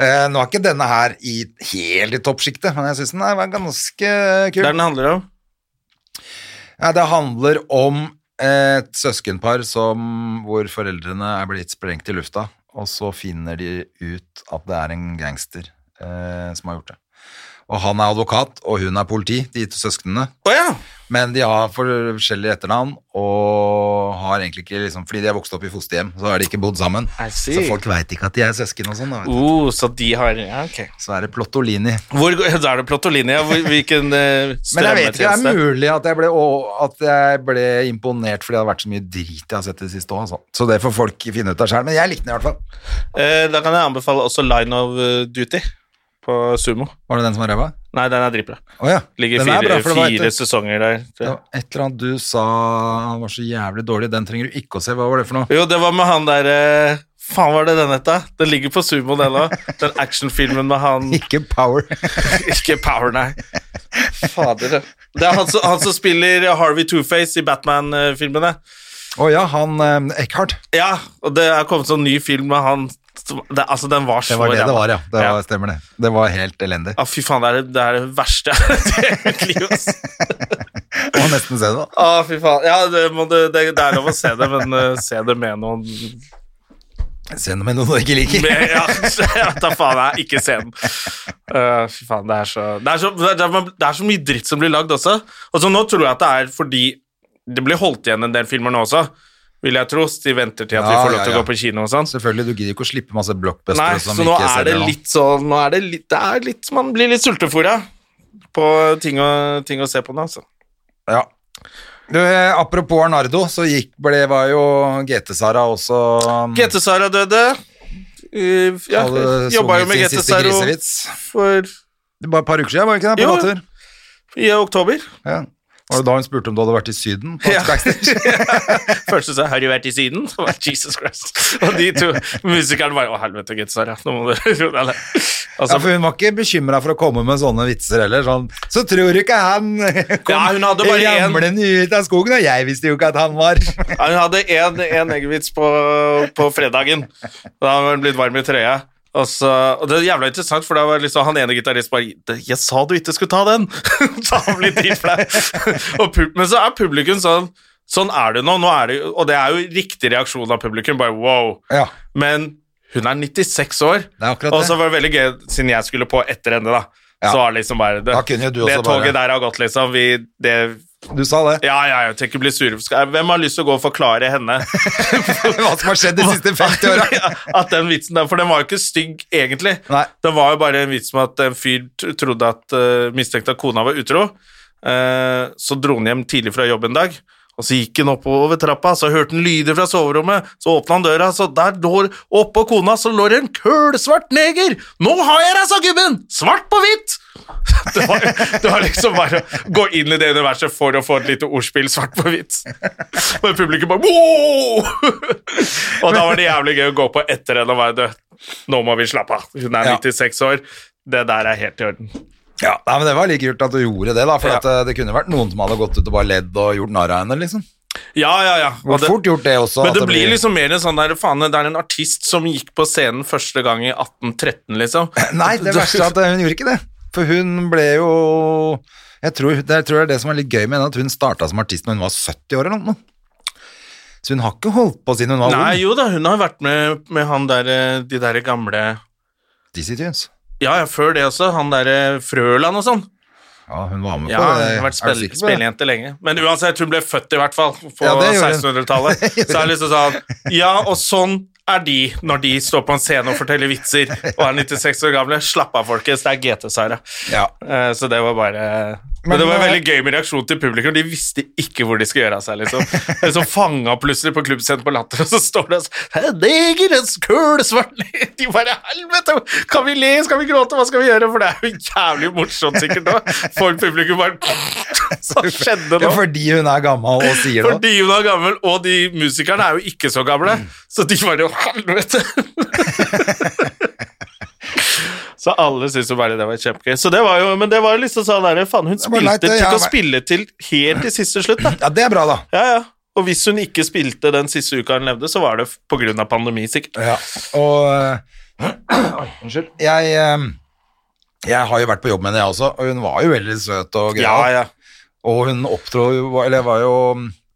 Eh, nå er ikke denne her i, helt i toppsjiktet, men jeg syns den er var ganske
Det
kul.
er den handler om.
Ja, det handler om et søskenpar som, hvor foreldrene er blitt sprengt i lufta, og så finner de ut at det er en gangster eh, som har gjort det. Og han er advokat, og hun er politi, de to søsknene.
Å ja!
Men de har forskjellige etternavn, og har egentlig ikke liksom, Fordi de har vokst opp i fosterhjem, så har de ikke bodd sammen.
I see.
Så folk veit ikke at de er søsken og sånn. da, vet du.
Oh, så de har ja, ok.
Så er det Plottolini.
Hvor, da er det Plotolini, ja. Hvor- Hvilken eh,
Men jeg vet ikke, det
strømmetjeneste?
er mulig at jeg ble, å- at jeg ble imponert fordi det hadde vært så mye drit jeg har sett det siste òg. Altså. Så det får folk finne ut av sjøl, men jeg likte den i hvert fall.
Eh, da kan jeg anbefale også Line of eh, Duty på Sumo.
Var det den som var ræva?
Nei, den er dritbra.
Å ja.
Ligger
den er
fire,
bra, for det var et-
fire sesonger der.
det var Et eller annet du sa var så jævlig dårlig, den trenger du ikke å se. Hva var det for noe?
Jo, det var med han der eh, Faen, var det den het, da? Den ligger på Sumo, den òg. Den actionfilmen med han
Ikke Power.
Ikke Power, nei. Fader. Det er han som, han som spiller Harvey Two-Face i Batman-filmene.
Å ja, han eh, Eckhart.
Ja, og det er kommet sånn ny film med han som- det, Altså, den var Ah. så
Det var det det
ræva.
var, ja. Det var, stemmer det. Det var helt elendig.
Ja, fy faen, det er det, det, er det verste jeg har sett i mitt liv. ass.
Må nesten se det. da.
Å, fy faen. Ja, det, må du, det, det er lov å se det, men eh, se det med noen
Se noe med noe du ikke liker.
med, Ja, jeg vet da faen. Jeg, ikke se den. Eh, fy faen, det er, så, det, er så, det, er, det er så mye dritt som blir lagd også. Og så nå tror jeg at det er fordi det blir holdt igjen en del filmer nå også, vil jeg tro. så De venter til at vi
Ja,
får lov
ja,
til å
ja.
gå på kino og sånn.
Selvfølgelig, du gidder ikke å slippe masse
Nei,
blockbustere som
så nå
ikke
er det
selger noe.
litt sånn Nå er det litt, det er litt Man blir litt sultefòra på ting å, ting å se på nå, altså.
Ja. Du, eh, apropos Arnardo, så gikk, ble, var jo GT-Sara også um,
GT-Sara døde. Eh, Ja,
hadde
jobba jo
sunget
med
sin siste
GT-Sara
grisevits.
for
Det var et par uker siden, var det ikke det?
Jo.
På gater.
i oktober.
Ja. Var det da hun spurte om du hadde vært i Syden? På
Ja.
backstage?
Først så sa jeg 'Har du vært i Syden?' Så var det, Jesus Christ. Og de to musikerne bare 'Å, helvete, GT-Sara'. Nå må du roe deg ned.
Ja,
Altså,
for hun var ikke bekymra for å komme med sånne vitser heller. Sånn, så tror du ikke han kom
Ja, hun hadde bare en-
ramlende ut av skogen, og jeg visste jo ikke at han var
Ja, Hun hadde en, en eggevits på, på fredagen. Da hadde hun blitt varm i trøya. Og, så, og det er jævla interessant, for da var liksom han ene gitaristen bare «Det- 'Jeg sa du ikke skulle ta den!' så han blir dritflau. Og pub- men så er publikum sånn Sånn er det nå. nå er det, jo- og det er jo riktig reaksjon av publikum. Bare wow.
Ja,
Men hun er 96 år,
Det er akkurat
og
det.
så var det veldig gøy siden jeg skulle på etter henne. da
Ja.
Så var det liksom bare det,
Da kunne jo du
det
også
toget
bare-
der har gått, liksom. Vi, det
Du sa det.
Ja, ja, jeg tenker å bli sur. Skal- Hvem har lyst til å gå og forklare henne
Hva som har skjedd de siste 50 åra?
Ja, at den vitsen der, for den var jo ikke stygg egentlig.
Nei.
Det var jo bare en vits med at en fyr t- trodde at eh, mistenkte at kona var utro. Eh, så dro han hjem tidlig fra jobb en dag, og så gikk han oppover trappa, så hørte han lyder fra soverommet, så åpna han døra, så der lå oppå kona så lå det en kølsvart neger! Nå har jeg deg, sa gubben! Svart på hvitt! Det var, det var liksom bare å gå inn i det universet for å få et lite ordspill svart på hvitt. Og publikum bare wow! Og da var det jævlig gøy å gå på etter henne og være død. Nå må vi slappe av. Hun er
Ja.
96 år. Det der er helt i orden.
Ja, nei, men Det var like kult at du gjorde det, da, for
Ja.
at, eh, det kunne vært noen som hadde gått ut og bare ledd og gjort narr av henne. liksom.
Ja, ja, ja.
Det var
Og det-
fort gjort det også.
Men
at
det blir liksom mer en sånn der faen, det er en artist som gikk på scenen første gang i 1813, liksom.
Nei, det verste er at hun gjorde ikke det. For hun ble jo Jeg tror det, jeg tror det er det som er litt gøy med henne, at hun starta som artist når hun var 70 år eller noe. Så hun har ikke holdt på siden hun var
Nei,
ung.
jo da, hun har vært med, med han der, eh, de derre gamle
Dizzy Tunes.
Ja, ja, før det også. Han derre Frøland og sånn.
Ja, hun var med
Ja,
på
hun
det.
har vært
Er du
spill,
sikker på det?
spillejente lenge. Men uansett, hun ble født i hvert fall på
Ja, det gjorde hun.
1600-tallet. Så er det liksom sånn Ja, og sånn er de når de står på en scene og forteller vitser og er 96 år gamle. Slapp av, folkens. Det er GT-Sara.
Ja.
Eh, Så det var bare men,
Men eh,
det var
nå er-
veldig gøy med reaksjonen til publikum. De visste ikke hvor de skulle gjøre av seg. liksom. De så fanga plutselig på klubbscenen på Latter, og så står det og så, «Hæ, Neger, en kølsvart neger!» De bare Helvete! Kan vi le? Skal vi gråte? Hva skal vi gjøre? For det er jo jævlig morsomt sikkert nå. For publikum bare Så skjedde
ja,
nå.
fordi hun er gammel og sier det.
Fordi hun er gammel, og de musikerne er jo ikke så gamle. Så de bare «Å, Helvete! så alle syntes jo bare det var kjempegøy. Så det var jo, men det var jo liksom sånn der, faen, hun
var
spilte
leit, det,
til
ja,
å
men-
spille til helt til siste slutt, da.
Ja, det er bra, da.
Ja, ja. Og hvis hun ikke spilte den siste uka hun levde, så var det på grunn av pandemi, sikkert.
Ja, og eh, Unnskyld. Jeg, eh, jeg har jo vært på jobb med henne, jeg også, og hun var jo veldig søt og grei.
Ja, ja.
Og hun opptrå jo Eller jeg var jo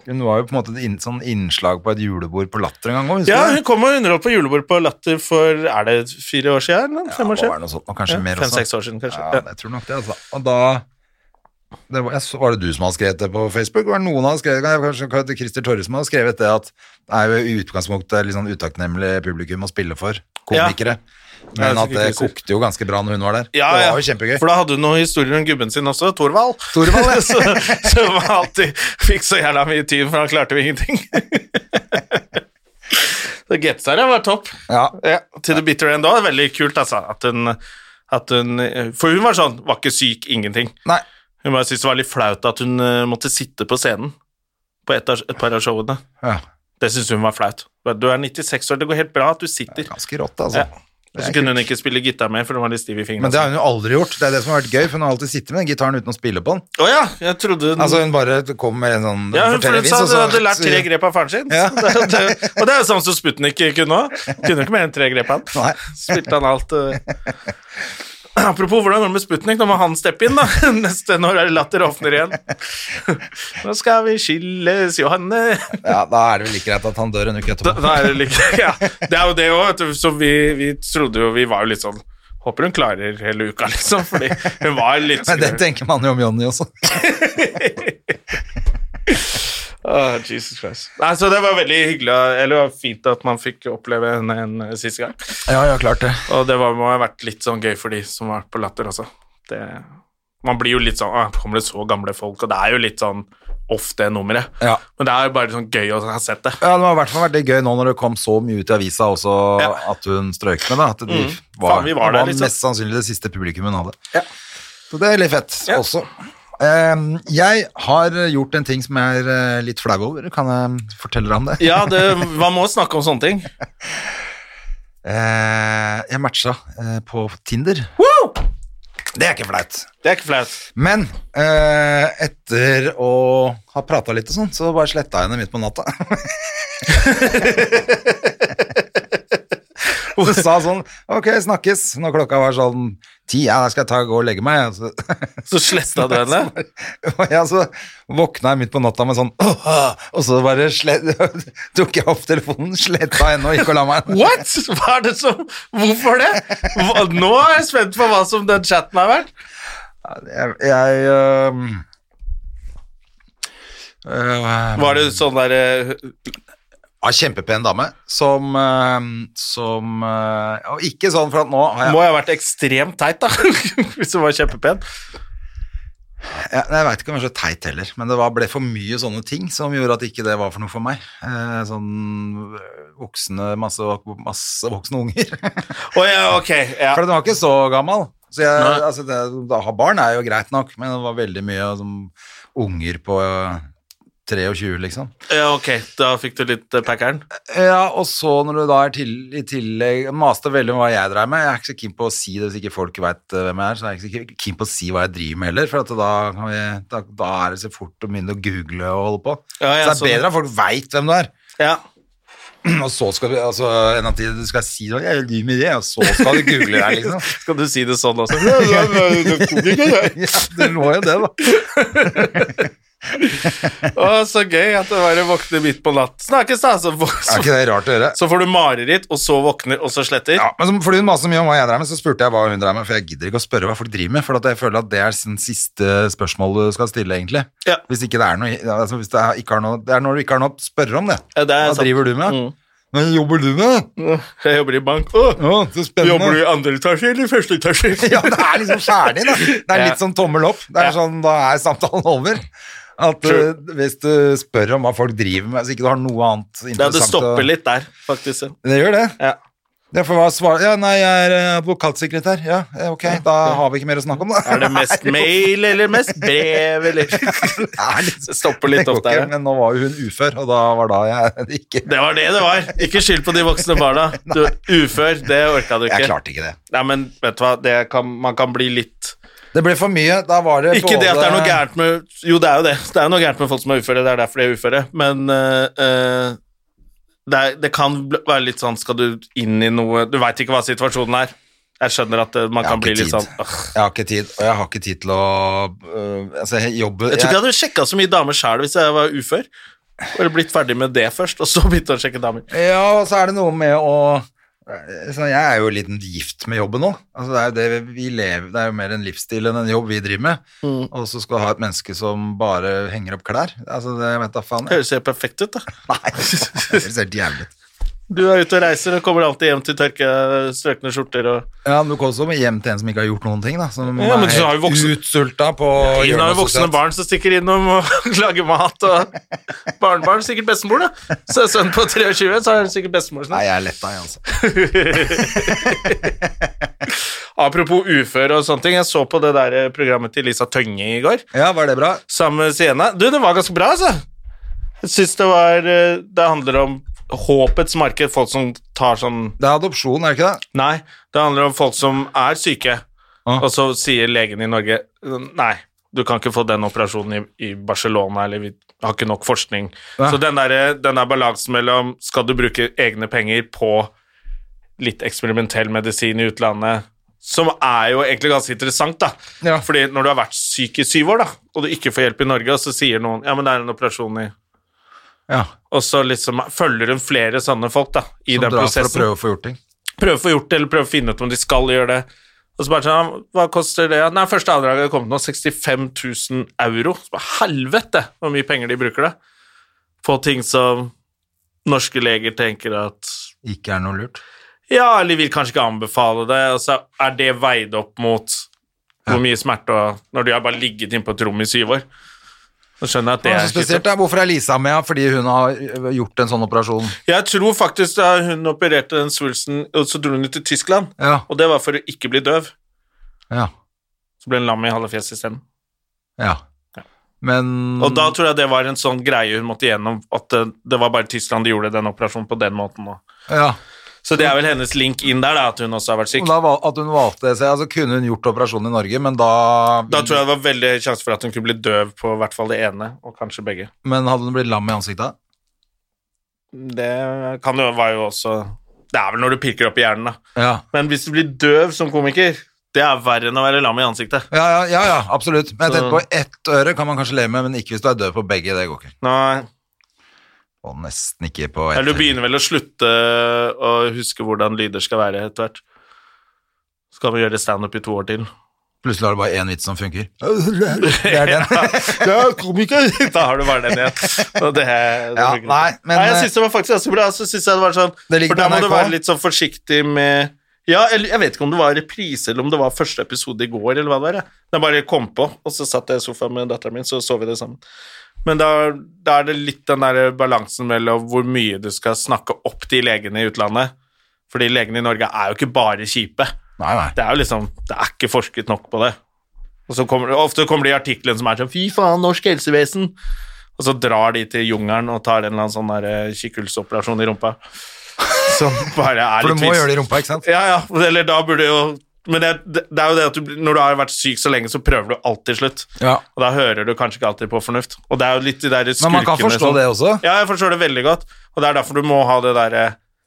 Hun var jo på en måte et inn, sånn innslag på et julebord på Latter en gang òg,
Ja,
husker du?
hun kom og underholdt på julebord på Latter for er det fire år siden? Eller? Fem år
det var
siden?
noe sånt, og kanskje
Ja,
mer også.
Fem-seks år siden, kanskje.
Ja, jeg tror nok det, altså. Og da det var, jeg så, var det du som hadde skrevet det på Facebook? Var det noen som hadde skrevet det? Kanskje- Kanskje Christer Torre som hadde skrevet det, at det er jo i utgangspunktet litt sånn utakknemlig publikum å spille for, komikere.
Jeg
Men
husker
at det
Christer.
kokte jo ganske bra når hun var der.
Ja,
det
ja.
var jo kjempegøy.
For da hadde hun noen historier om gubben sin også, Thorvald.
Thorvald, ja.
så, så han alltid fikk så jævla mye tyn, for han klarte jo ingenting. så Getsara var topp.
Ja.
Ja, til the bitter end òg. Veldig kult, altså. At hun, at hun For hun var sånn, var ikke syk, ingenting.
Nei,
Hun bare syntes det var litt flaut at hun eh, måtte sitte på scenen på et, av, et par av showene.
ja.
Det syntes hun var flaut. Du er 96 år, det går helt bra at du sitter.
ganske rått, altså.
Ja. Og så kunne hun ikke spille gitar mer, for hun var litt stiv i fingrene.
Men det har hun jo aldri gjort. Det er det som har vært gøy, for hun har alltid sittet med den gitaren uten å spille på den.
Å ja, jeg trodde hun
Altså, hun bare kom med en sånn
Ja, hun for hun
fortellervits,
sa
og
at hun
så-
hadde lært tre grep av faren sin.
Ja.
Så Det, det, og det er jo sånn som Sputnik kunne òg. Kunne jo ikke mer enn tre grep, han.
Nei.
Spilte han alt eh. Apropos hvordan går det med Sputnik, nå må han steppe inn, da. Neste når er det latter åpner igjen. Nå skal vi skilles, Johanne.
Ja, da er det vel like greit at han dør en
Da,
uke etterpå.
da er det like Ja, det er jo det òg, så vi, vi trodde jo Vi var jo litt sånn Håper hun klarer hele uka, liksom, fordi hun var litt
Men det tenker man jo om Jonny også.
Åh, Ah, Jesus Christ. Nei, så det var veldig hyggelig, eller det var fint at man fikk oppleve henne en eh, siste gang.
Ja, ja, klart det.
Og det var, må ha vært litt sånn gøy for de som var på latter også. Det, man blir jo litt sånn Åh, kommer det så gamle folk? Og det er jo litt sånn off det nummeret.
Ja.
Men det er jo bare sånn gøy å ha sett det.
Ja, Det har i hvert fall vært litt gøy nå når det kom så mye ut i avisa også
Ja. Mm.
at hun strøyk med, da. At de var,
Faen, vi var
det
der,
var
liksom.
mest sannsynlig det siste publikum hun hadde. Så det er litt fett også. Ehm, jeg har gjort en ting som jeg er eh, litt flau over. Kan jeg fortelle deg om det?
Ja, det, man må snakke om sånne ting.
Eh, jeg matcha eh, på Tinder. Det er ikke flaut.
Det er ikke flaut.
Men eh, etter å ha prata litt og sånn, så bare sletta jeg henne midt på natta. Hun sa sånn Ok, snakkes. Når klokka var sånn ti, ja, da skal jeg ta, gå og legge meg. Og så,
Så sletta du henne.
og jeg så våkna jeg midt på natta med sånn «Åh, åh», Og så bare slett, tok jeg opp telefonen, sletta henne og gikk og la meg.
What?! Hva er det som Hvorfor det? Hva, nå er jeg spent på hva som den chatten har vært.
Jeg, jeg øhm, Eh,
Var det sånn der eh,
Ja, kjempepen dame som, eh, som eh, Og ikke sånn for at nå har jeg
Må jo ha vært ekstremt teit, da. Hvis du var kjempepen.
Jeg, jeg veit ikke om jeg er så teit heller, men det var, ble for mye sånne ting som gjorde at ikke det var for noe for meg. Eh, sånn eh, voksne, masse, masse voksne unger.
Å ja, ok. Ja.
For den var ikke så gammel. Så jeg,
Nei.
altså det, da, ha barn er jo greit nok, men det var veldig mye som unger på eh, 23, liksom.
ja, ok. Da fikk du litt eh, packeren.
Ja, og så når du da er til, i tillegg maste veldig om hva jeg dreier med, jeg er ikke så keen på å si det hvis ikke folk vet eh, hvem jeg er, så jeg er ikke så keen på å si hva jeg driver med heller, for at da, kan vi, da, da er det så fort å begynne å google og holde på.
Ja, ja,
så det er
sånn.
bedre at folk vet hvem du er,
Ja.
og så skal du, altså, enn at de- du skal si noe, jeg driver med det, og så skal du google deg, liksom.
Skal du si det sånn også?
Ja, du må jo det, da.
Å, så gøy at det bare våkner midt på natt. Snakkes, da! Så, vå-
Er
så,
ikke det rart å gjøre?
så får du mareritt, og så våkner, og så sletter.
Ja, men som, fordi hun maser mye om hva jeg dreier med, så spurte jeg hva hun dreier med, for jeg gidder ikke å spørre hva folk driver med, for at jeg føler at det er sin siste spørsmål du skal stille, egentlig.
Ja.
Hvis ikke det er noe, altså hvis det, er, ikke har noe det er når du ikke har noe å spørre om det.
Ja, det er
hva
sant.
driver du med?
Mm.
Men jobber du med?
Jeg jobber i bank. Å,
Ja, så spennende.
jobber du i andre etasje eller i første etasje?
ja, det er liksom ferdig, da. Det er
Ja.
litt sånn tommel opp. Det er
Ja.
sånn, da er samtalen over. At
True.
eh, hvis du spør om hva folk driver med, så ikke du har noe annet
Ja,
interessant
det
å-
stopper litt der, faktisk.
Det gjør det.
Ja.
Ja, for hva svar... Ja, nei, jeg er eh, advokatsekretær. Ja, eh, ok, da har vi ikke mer å snakke om, da.
Er det mest mail eller mest brev, eller
er litt-
Det stopper litt
Det går
opp der.
ikke, Men nå var jo hun ufør, og da var da jeg det ikke
Det var det det var. Ikke skyld på de voksne barna. Du, ufør, det orka du ikke.
Jeg klarte ikke det.
Nei, men vet du hva, det kan, man kan bli litt
Det ble for mye. Da var det
Ikke det at det er noe gærent med Jo, det er jo det. Det er noe gærent med folk som er uføre, det er derfor de er uføre, men eh, eh, det, er, det kan bl- være litt sånn Skal du inn i noe Du veit ikke hva situasjonen er. Jeg skjønner at eh, man
Jeg har
kan bli
ikke
litt
tid.
sånn «Åh».
Jeg har ikke tid, og jeg har ikke tid til å øh, Altså, jeg jobber
Jeg tror ikke jeg hadde sjekka så mye damer sjæl hvis jeg var ufør. Eller blitt ferdig med det først, og så begynt å sjekke damer.
Ja, og så er det noe med å så Jeg er jo litt gift med jobben nå. Altså, det, er jo det, vi lever, det er jo mer en livsstil enn en jobb vi driver med.
Mm.
Og så skal du ha et menneske som bare henger opp klær. Altså, det jeg vet da faen. jeg.
Høres helt perfekt ut, da.
Nei, det høres helt jævlig ut.
Du er ute og reiser og kommer alltid hjem til tørke strøkne skjorter og
Ja, men du kan også hjem til en som ikke har gjort noen ting, da. Som
Ja, men
er
så har jo voksen-
utsulta på å
Hun
gjøre
har jo
noe
voksne
sosialt.
barn som stikker innom og lager mat, og barnebarn sikkert bestemor, da. Så er sønnen på 23, så er det sikkert bestemor.
Nei,
Sånn.
jeg er letta, jeg, altså.
Apropos uføre og sånne ting, jeg så på det der eh, programmet til Lisa Tønge i går,
Ja, var det bra?
sammen med Siena. Du, det var ganske bra, altså. Jeg syns det var eh, Det handler om håpets marked, folk som tar sånn
Det er adopsjon, er det ikke det?
Nei, det handler om folk som er syke,
Ah.
og så sier legen i Norge Nei, du kan ikke få den operasjonen i, i Barcelona, eller vi har ikke nok forskning.
Ja.
Så den der, den der balansen mellom skal du bruke egne penger på litt eksperimentell medisin i utlandet, som er jo egentlig ganske interessant, da.
Ja.
Fordi når du har vært syk i syv år, da, og du ikke får hjelp i Norge, og så sier noen ja, men det er en operasjon i
Ja,
Og så liksom følger hun flere sånne folk da, i
Som
den
drar for
prosessen
å prøve å få gjort ting.
prøve å få gjort det, eller prøve å finne ut om de skal gjøre det. Og så bare sånn, hva koster det? Nei, første avdraget kom nå, 65 000 euro. Så bare, helvete hvor mye penger de bruker det. På ting som norske leger tenker at
Ikke er noe lurt.
ja, eller vil kanskje ikke anbefale det, og så er det veid opp mot hvor mye smerte og Når du har bare ligget inne på et rom i syv år. Så skjønner jeg at det
Det er
er
så spesielt,
slitsomt.
da. Hvorfor er Lisa med? ja? Fordi hun har ø, gjort en sånn operasjon.
Jeg tror faktisk da hun opererte den svulsten, og så dro hun ut til Tyskland,
Ja,
og det var for å ikke bli døv.
ja,
Så ble hun lam i halve fjeset isteden.
ja. Men
Og da tror jeg det var en sånn greie hun måtte gjennom, at det, det var bare Tyskland de gjorde den operasjonen på den måten. da.
ja.
Så det er vel hennes link inn der, da, at hun også har vært
Og
syk.
da val- At hun valgte seg Altså, kunne hun gjort operasjonen i Norge, men da,
Da tror jeg det var veldig høy sjanse for at hun kunne bli døv på i hvert fall det ene, og kanskje begge.
Men hadde hun blitt lam i ansiktet?
Det kan jo, var jo også Det er vel når du pirker opp i hjernen, da.
Ja.
Men hvis du blir døv som komiker, det er verre enn å være lam i ansiktet.
Ja, ja, ja, ja absolutt. Men jeg
Så-
tenkte på ett øre kan man kanskje leve med, men ikke hvis du er død på begge. Det går ikke.
Nei.
Og nesten ikke på ett.
Eller du
øre.
begynner vel å slutte å huske hvordan lyder skal være etter hvert. Så kan vi gjøre standup i to år til.
Plutselig har du bare én vits som funker. Det er den.
Ja, komiker! Da har du bare den igjen. Og det, det
Ja,
funker
nei,
ikke.
men- eh,
nei, jeg syns det var faktisk ganske bra. Så synes jeg det var sånn,
Det ligger
for da
på
må du
NRK.
være litt sånn forsiktig med ja, eller Jeg vet ikke om det var reprise eller om det var første episode i går. eller hva det var. jeg. Det bare kom på, og så satt jeg i sofaen med datteren min, så så vi det sammen. Men da, da er det litt den der balansen mellom hvor mye du skal snakke opp de legene i utlandet. Fordi legene i Norge er jo ikke bare kjipe.
Nei, nei.
Det er jo liksom, det er ikke forsket nok på det. Og så kommer, ofte kommer de artiklene som er sånn, fy faen, norsk helsevesen. Og så drar de til jungeren og tar en eller annen sånn der eh, kikkhullsoperasjon i rumpa. Som bare er
For
litt
du må
trist.
gjøre det i rumpa, ikke sant?
Ja, ja, eller da burde jo... Men det, det er jo det at du, blir- når du har vært syk så lenge, så prøver du alt til slutt.
Ja.
Og da hører du kanskje ikke alltid på fornuft. Og det er jo litt de der skurkene
Men man kan forstå
som-
det også.
ja, jeg forstår det veldig godt, og det er derfor du må ha det derre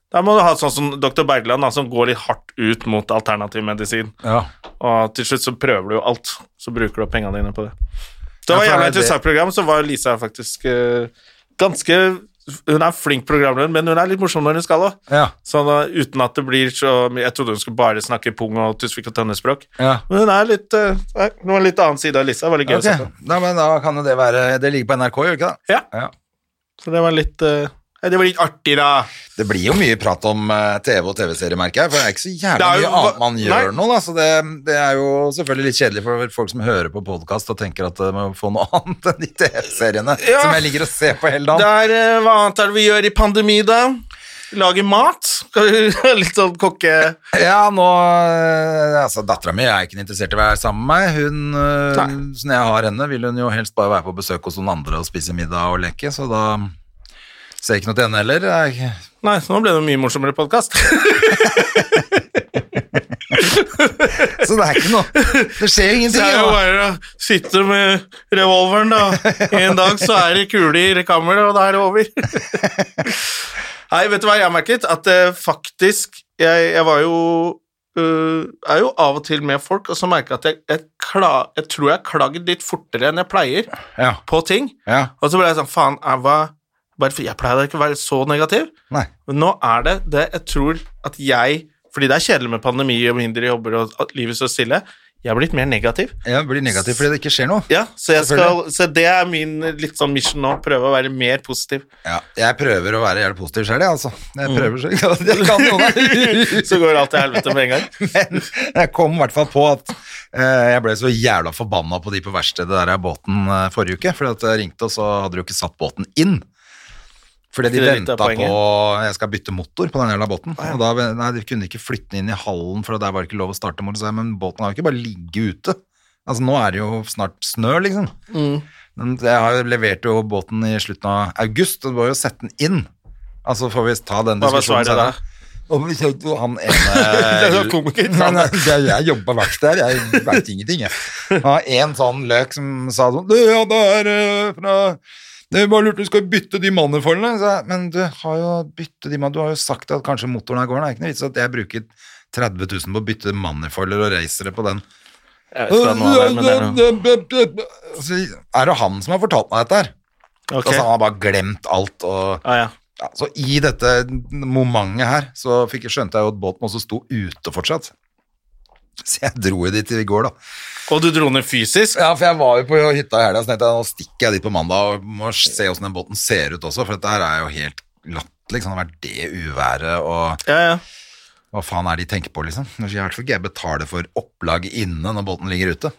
Da må du ha sånn som dr. Bergland, da, som går litt hardt ut mot alternativ medisin.
Ja.
Og til slutt så prøver du jo alt, så bruker du opp pengene dine på det. Så det var
Ja, for
jævla
det-
interessant program, så var Lisa faktisk eh, ganske Hun er flink programleder, men hun er litt morsom når hun skal òg.
Ja.
Sånn eh, uten at det blir så mye Jeg trodde hun skulle bare snakke pung og tusvik og tønnespråk.
Ja.
Men hun er litt eh, nei, Det var en litt annen side av Lisa. Det var litt gøy
Ok,
å se på.
Nei, men da kan jo det være Det ligger på NRK, gjør det ikke det?
Ja.
Ja.
Så det var litt eh, ja, Det var litt artig, da.
Det blir jo mye prat om eh, TV og TV-serier, merker jeg, for det er ikke så jævlig
Det er jo-
mye annet man
Nei.
gjør nå, da, så det, det er jo selvfølgelig litt kjedelig for folk som hører på podkast og tenker at de må få noe annet enn de TV-seriene
Ja.
som jeg ligger og ser på hele dagen.
Der, eh, hva annet er det vi gjør i pandemi, da? Lage mat? Litt sånn kokke...
Ja, nå eh, Altså, dattera mi er ikke interessert i å være sammen med meg. Hun, eh,
Nei.
så når jeg har henne, vil hun jo helst bare være på besøk hos noen andre og spise middag og leke, så da ser jeg ikke noe til henne heller. Jeg,
Nei, nå ble det en mye morsommere podkast.
så det er ikke noe Det skjer jo
Det
ingenting.
er jo
da.
bare å sitte med revolveren, da. En dag så er det kule i kammeret, og da er det over. Nei, vet du hva jeg har merket? At eh, faktisk Jeg, jeg var jo øh, er jo av og til med folk, og så merker jeg at jeg, jeg, kla, jeg tror jeg klager litt fortere enn jeg pleier
Ja.
på ting.
ja.
Og så ble jeg sånn, faen, jeg var bare for jeg pleier da ikke å være så negativ,
Nei.
men nå er det det jeg tror at jeg, fordi det er kjedelig med pandemi og mindre jobber og at livet står stille, jeg er blitt mer negativ.
Jeg blir negativ fordi det ikke skjer noe.
Ja, så, jeg skal,
Selvfølgelig.
så det er min litt sånn mission nå, prøve å være mer positiv.
Ja, jeg prøver å være jævlig positiv selv, jeg, altså. Jeg prøver selv. Jeg kan noe der.
Så går alt til helvete med en gang.
Men jeg kom i hvert fall på at eh, jeg ble så jævla forbanna på de på verkstedet der jeg båten eh, forrige uke. Fordi at jeg ringte, og så hadde de jo ikke satt båten inn. Fordi de
Ikke det litt
venta
av
på
poenget?
Jeg skal bytte motor på den jævla båten. Og da, nei, de kunne ikke flytte den inn i hallen, for der var det ikke lov å starte motor. Så jeg, men båten har jo ikke bare ligget ute. Altså, nå er det jo snart snø, liksom.
Mm.
Men jeg har jo levert jo båten i slutten av august, og du må jo sette den inn. Altså får vi ta den
Hva var
diskusjonen
svaret da?
Og vi kjente jo han ene
var komiker.
Nei, nei, Eh, jeg, jeg jobber på verksted her, jeg veit ingenting, jeg. Det var en sånn løk som sa sånn Du, ja, det er eh, fra det er bare lurt, du skal bytte de manøvlene. Så jeg, Men du har jo bytte de man- Du har jo sagt at kanskje motoren her går, det er ikke noe vits at jeg bruker 30 000 på å bytte manifolder og racere på den.
Jeg vet ikke hva nå er, men det er noe.
Så er det han som har fortalt meg dette her.
Ok.
Altså, han har bare glemt alt. Og,
Ah, ja.
ja, så i dette momentet her, så fikk, skjønte jeg jo at båten også sto ute fortsatt. Så jeg dro jo dit i går, da.
Og du dro ned fysisk?
Ja, for jeg var jo på hytta i helga, så tenkte jeg nå stikker jeg dit på mandag og må se åssen den båten ser ut også, for dette her er jo helt latterlig. Liksom. Det har vært det uværet og
Ja, ja.
hva faen er det de tenker på, liksom? Jeg vet ikke, jeg betaler for opplaget inne når båten ligger ute.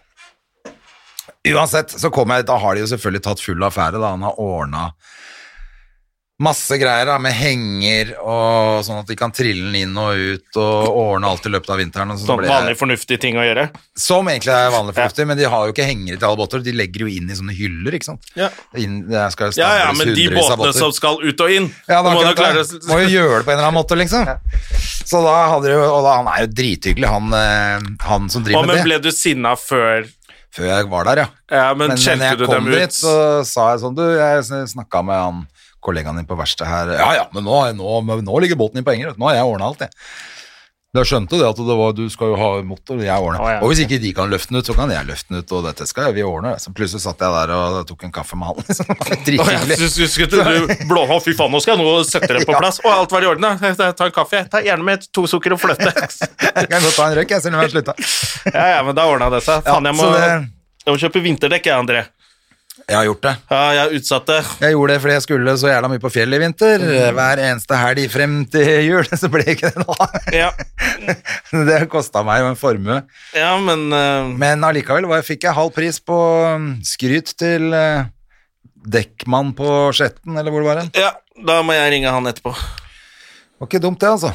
Uansett, så kom jeg, da har de jo selvfølgelig tatt full affære, da han har ordna masse greier da, med henger og sånn at de kan trille den inn og ut og ordne alt i løpet av vinteren. Og så
Sånn
ble
vanlig
jeg,
fornuftig ting å gjøre?
som egentlig er vanlig fornuftig, men de har jo ikke hengere til alle båter, de legger jo inn i sånne hyller, ikke sant?
Ja.
Inn, der skal
Ja, ja,
stables
men de
hundrevis av
båtene
båter.
som skal ut og inn,
Ja,
da
det er
må du
akkurat
klare
det. Må jo gjøre det på en eller annen måte, liksom. Så da hadde de jo, og da, han er jo drithyggelig, han, eh, han som
Å,
driver
men
med det.
ble du sinna før
Før jeg var der, ja.
Ja, men,
Men, men
skjelte
jeg
du
kom
dem
dit,
ut?
så sa jeg sånn, du, jeg sn- snakket med han kollegaen din på verste her. Ja, ja, men nå, nå, nå ligger båten din på henger, vet du. nå har jeg ordnet alt, jeg. Da skjønte jo det at det var, du skal jo ha motor, jeg ordner.
Å, ja.
Og hvis ikke de kan løfte den ut, så kan jeg løfte den ut, og dette skal vi ordne. Så plutselig satt jeg der og tok en kaffe med han. Liksom.
Å, ja,
Drithyggelig.
så- så- så- du blåhå, fy faen, nå skal jeg nå sette det på plass. Og alt var i orden. da. Jeg tar en kaffe. jeg. Ta gjerne med to sukker og fløte.
Jeg kan godt ta en røyk, jeg, selv om jeg har slutta.
Ja, ja, men da ordna det seg. Faen,
Ja,
jeg må,
så det-
jeg må kjøpe vinterdekk, jeg, André.
Jeg har gjort det.
Ja, jeg er utsatt det.
Jeg gjorde det fordi jeg skulle så jævla mye på fjellet i vinter. Hver eneste helg frem til jul, så ble ikke det noe.
Ja,
Det kosta meg jo en formue.
ja men eh,
Men allikevel var- fikk jeg halv pris på mm, skryt til eh, Dekkmann på Skjetten, eller hvor det var hen.
Ja, da må jeg ringe han etterpå.
Var ikke dumt, det, altså.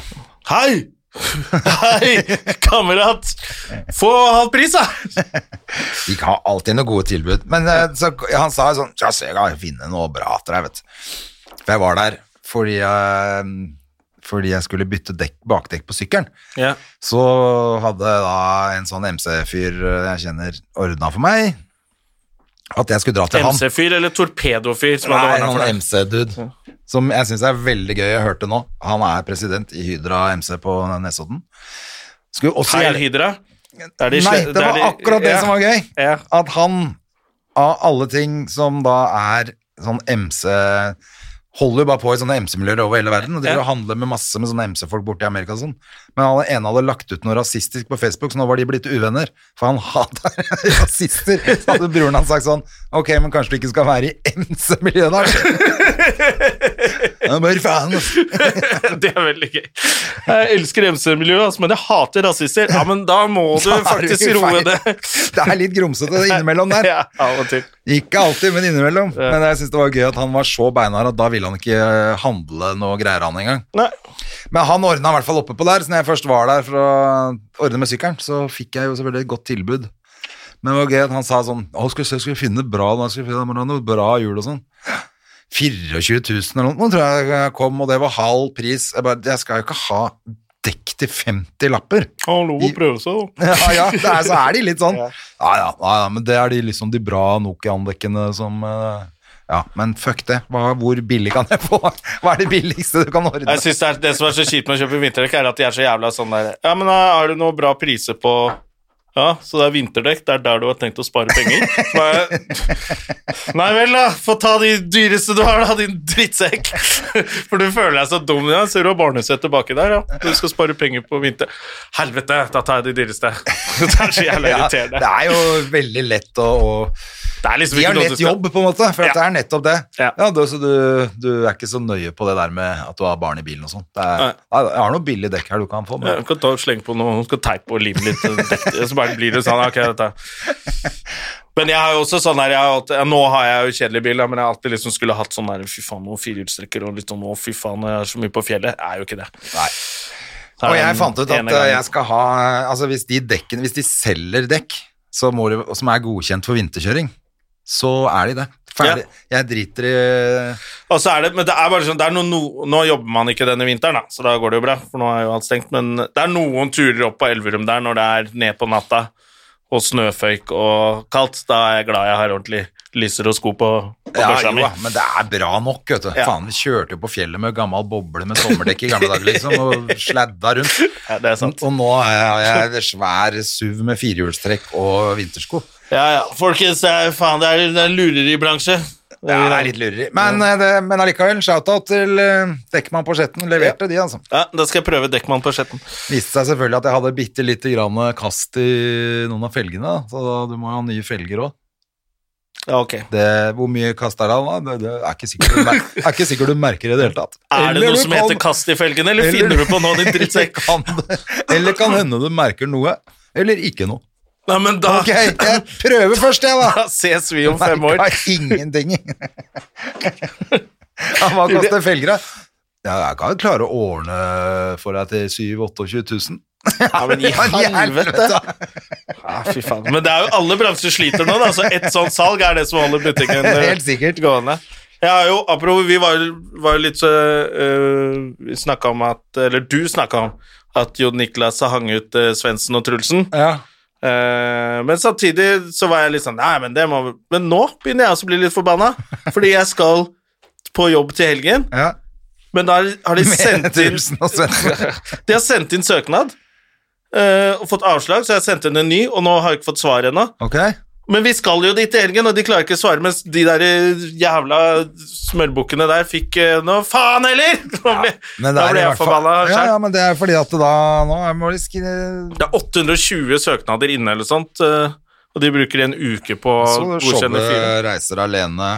Hei! Hei, kamerat! Få halv pris, da!
De har alltid noen gode tilbud. Men eh, så, han sa jo sånn Ja, så jeg kan finne noe bra til deg, vet du. For jeg var der fordi jeg, fordi jeg skulle bytte dekk, bakdekk på sykkelen.
Ja.
Så hadde da en sånn MC-fyr jeg kjenner, ordna for meg at jeg skulle dra til han.
MC-fyr eller torpedofyr? Som
Nei,
hadde ordnet
han
for deg.
MC-dude. Som jeg syns er veldig gøy. Jeg hørte nå. Han er president i Hydra MC på Nesodden. Skulle også
Heil
gjerne-
Hydra? Er de
Nei,
sle-
det
er
var
de-
akkurat det
ja.
som var gøy.
Ja.
At han, av alle ting som da er sånn MC Holder jo bare på i sånne MC-miljøer over hele verden. Og driver
Ja.
og handler med masse med sånne MC-folk borte i Amerika og sånn. Men han ene hadde lagt ut noe rasistisk på Facebook, så nå var de blitt uvenner. For han hater rasister. Så hadde broren hans sagt sånn Ok, men kanskje du ikke skal være i MC-miljøet, da? Han bare faen, ass.
Det er veldig gøy. Jeg elsker MC-miljøet, altså, men jeg hater rasister. Ja, men da må du
Da er
faktisk
vi
roe
feil.
det.
Det er litt grumsete innimellom der.
Ja, av og til.
Ikke alltid, men innimellom. Men jeg synes det var gøy at han var så beinhard at da ville han ikke handle noe greier han engang.
Nei.
Men han ordna i hvert fall oppe på der, så når jeg først var der for å ordne med sykkelen, så fikk jeg jo selvfølgelig et godt tilbud. Men det var gøy at han sa sånn Å, skal vi se, skal vi finne bra da skal vi finne noe bra jul og sånn. 24 000 eller noe, nå tror jeg jeg kom, og det var halv pris. Jeg bare, jeg skal jo ikke ha dekk til 50 lapper.
Hallo,
I-
prøve seg, da.
Ja, ja, det er, så er de litt sånn. Ja, ja, ja, ja men det er de liksom de bra Nokian-dekkene som eh, Ja, men fuck det. Hva, hvor billig kan jeg få? Hva er det billigste du kan ordne?
Jeg synes det, er, det som er så kjipt med å kjøpe vinterdekk, er at de er så jævla sånn der Ja, men da har du noen bra priser på Ja, så det er vinterdekk, det er der du har tenkt å spare penger? Så bare, Nei vel, da. Få ta de dyreste du har, da, din drittsekk. For du føler deg så dum. Ja. Ser du har barnesete baki der, ja. Du skal spare penger på vinter. Helvete, da tar jeg de dyreste. Det er så jævla
Ja,
irriterende.
det er jo veldig lett å, å
Det er liksom
De har
ikke noe
lett
du skal-
jobb, på en måte, for at det
Ja.
er nettopp det.
Ja.
du, så du, du er ikke så nøye på det der med at du har barn i bilen og sånn. Det er- Nei, Jeg har noe billig dekk her du kan få,
Ja,
men
du kan ta og slenge på noe, du kan teipe på livet litt, eh, dette, så bare blir det sånn, ok, dette. Men jeg har jo også sånn her, jeg har alltid, ja, nå har jeg jo kjedelig bil, da, men jeg har alltid liksom skulle hatt sånn her, fy faen, noen firehjulstrekker og litt sånn, å fy faen, jeg er så mye på fjellet, jeg er jo ikke det.
Nei.
Så er
Og
det
jeg
den
fant ut at
ene gangen.
eh, jeg skal ha Altså hvis de dekkene Hvis de selger dekk så må det, og som er godkjent for vinterkjøring, så er de det. Ferdig. Jeg driter i
Og så er det, men det er bare sånn, det er noen- no, nå jobber man ikke denne vinteren, da, så da går det jo bra, for nå er jo alt stengt, men det er noen turer opp på Elverum der når det er ned på natta, og snøføyk og kaldt, da er jeg glad jeg har ordentlig lyser og sko på, på
ja,
børsa
jo,
mi.
da, Men det er bra nok, vet du.
Ja.
Faen, vi kjørte jo på fjellet med gammel boble med sommerdekk i gamle dager, liksom, og sladda rundt.
Ja, det er sant.
Og nå har jeg det svær SUV med firehjulstrekk og vintersko.
Ja, ja. Folkens, det er, faen, det er, det er en lureribransje.
Ja, det er litt lureri. Men, eh, det, men allikevel, shout-out til eh, Dekkmann på Skjetten. Leverte de, altså.
Ja, da skal jeg prøve Dekkmann på sjetten.
viste seg selvfølgelig at jeg hadde bitte lite grann kast i noen av felgene, da. så da, du må jo ha nye felger òg.
Ja, ok.
Hvor mye kast er det, da? Det, det er, ikke sikkert du mer, er ikke sikkert du merker det i det hele tatt.
Er det
Eller
noe
du
som
kan-
heter kast i felgen, eller,
eller-
finner du på noe, din
eller
drittsekk?
kan, eller kan hende du merker noe, eller ikke noe.
Nei, men da
Ok, Oh jeg prøver først, jeg, da.
Da ses vi om fem år.
Merka ingenting. Ja, Hva koster felger, da? Ja, jeg kan jo klare å ordne for deg til 7 28 000.
Ja, men i helvete! Ja, fy faen. Men det er jo alle bransjer sliter nå, da, så ett sånt salg er det som holder butikken eh,
Helt sikkert.
gående. Jeg har jo, apropos, vi var, var jo litt så eh, Vi snakka om at Eller du snakka om at Jon Niklas hang ut eh, Svendsen og Trulsen.
Ja.
Eh, men samtidig så var jeg litt sånn Nei, men det må vi-" Men nå begynner jeg også å bli litt forbanna, fordi jeg skal på jobb til helgen,
ja.
men da har de sendt inn
Tusen og Svendsen.
De har sendt inn søknad eh, og fått avslag, så jeg sendte henne en ny, og nå har jeg ikke fått svar ennå.
Ok?
Men vi skal jo dit i helgen, og de klarer ikke å svare, mens de der eh, jævla smørbukkene der fikk eh, noe faen heller! Da ble,
Men det
da
er i
ble jeg
hvert fall-
forbanna.
Ja,
selv.
ja, men det er fordi at det da Nå er må de skri-
Det er 820 søknader inne eller sånt, eh, og de bruker en uke på å
Så
godkjenne fire.
showet reiser alene.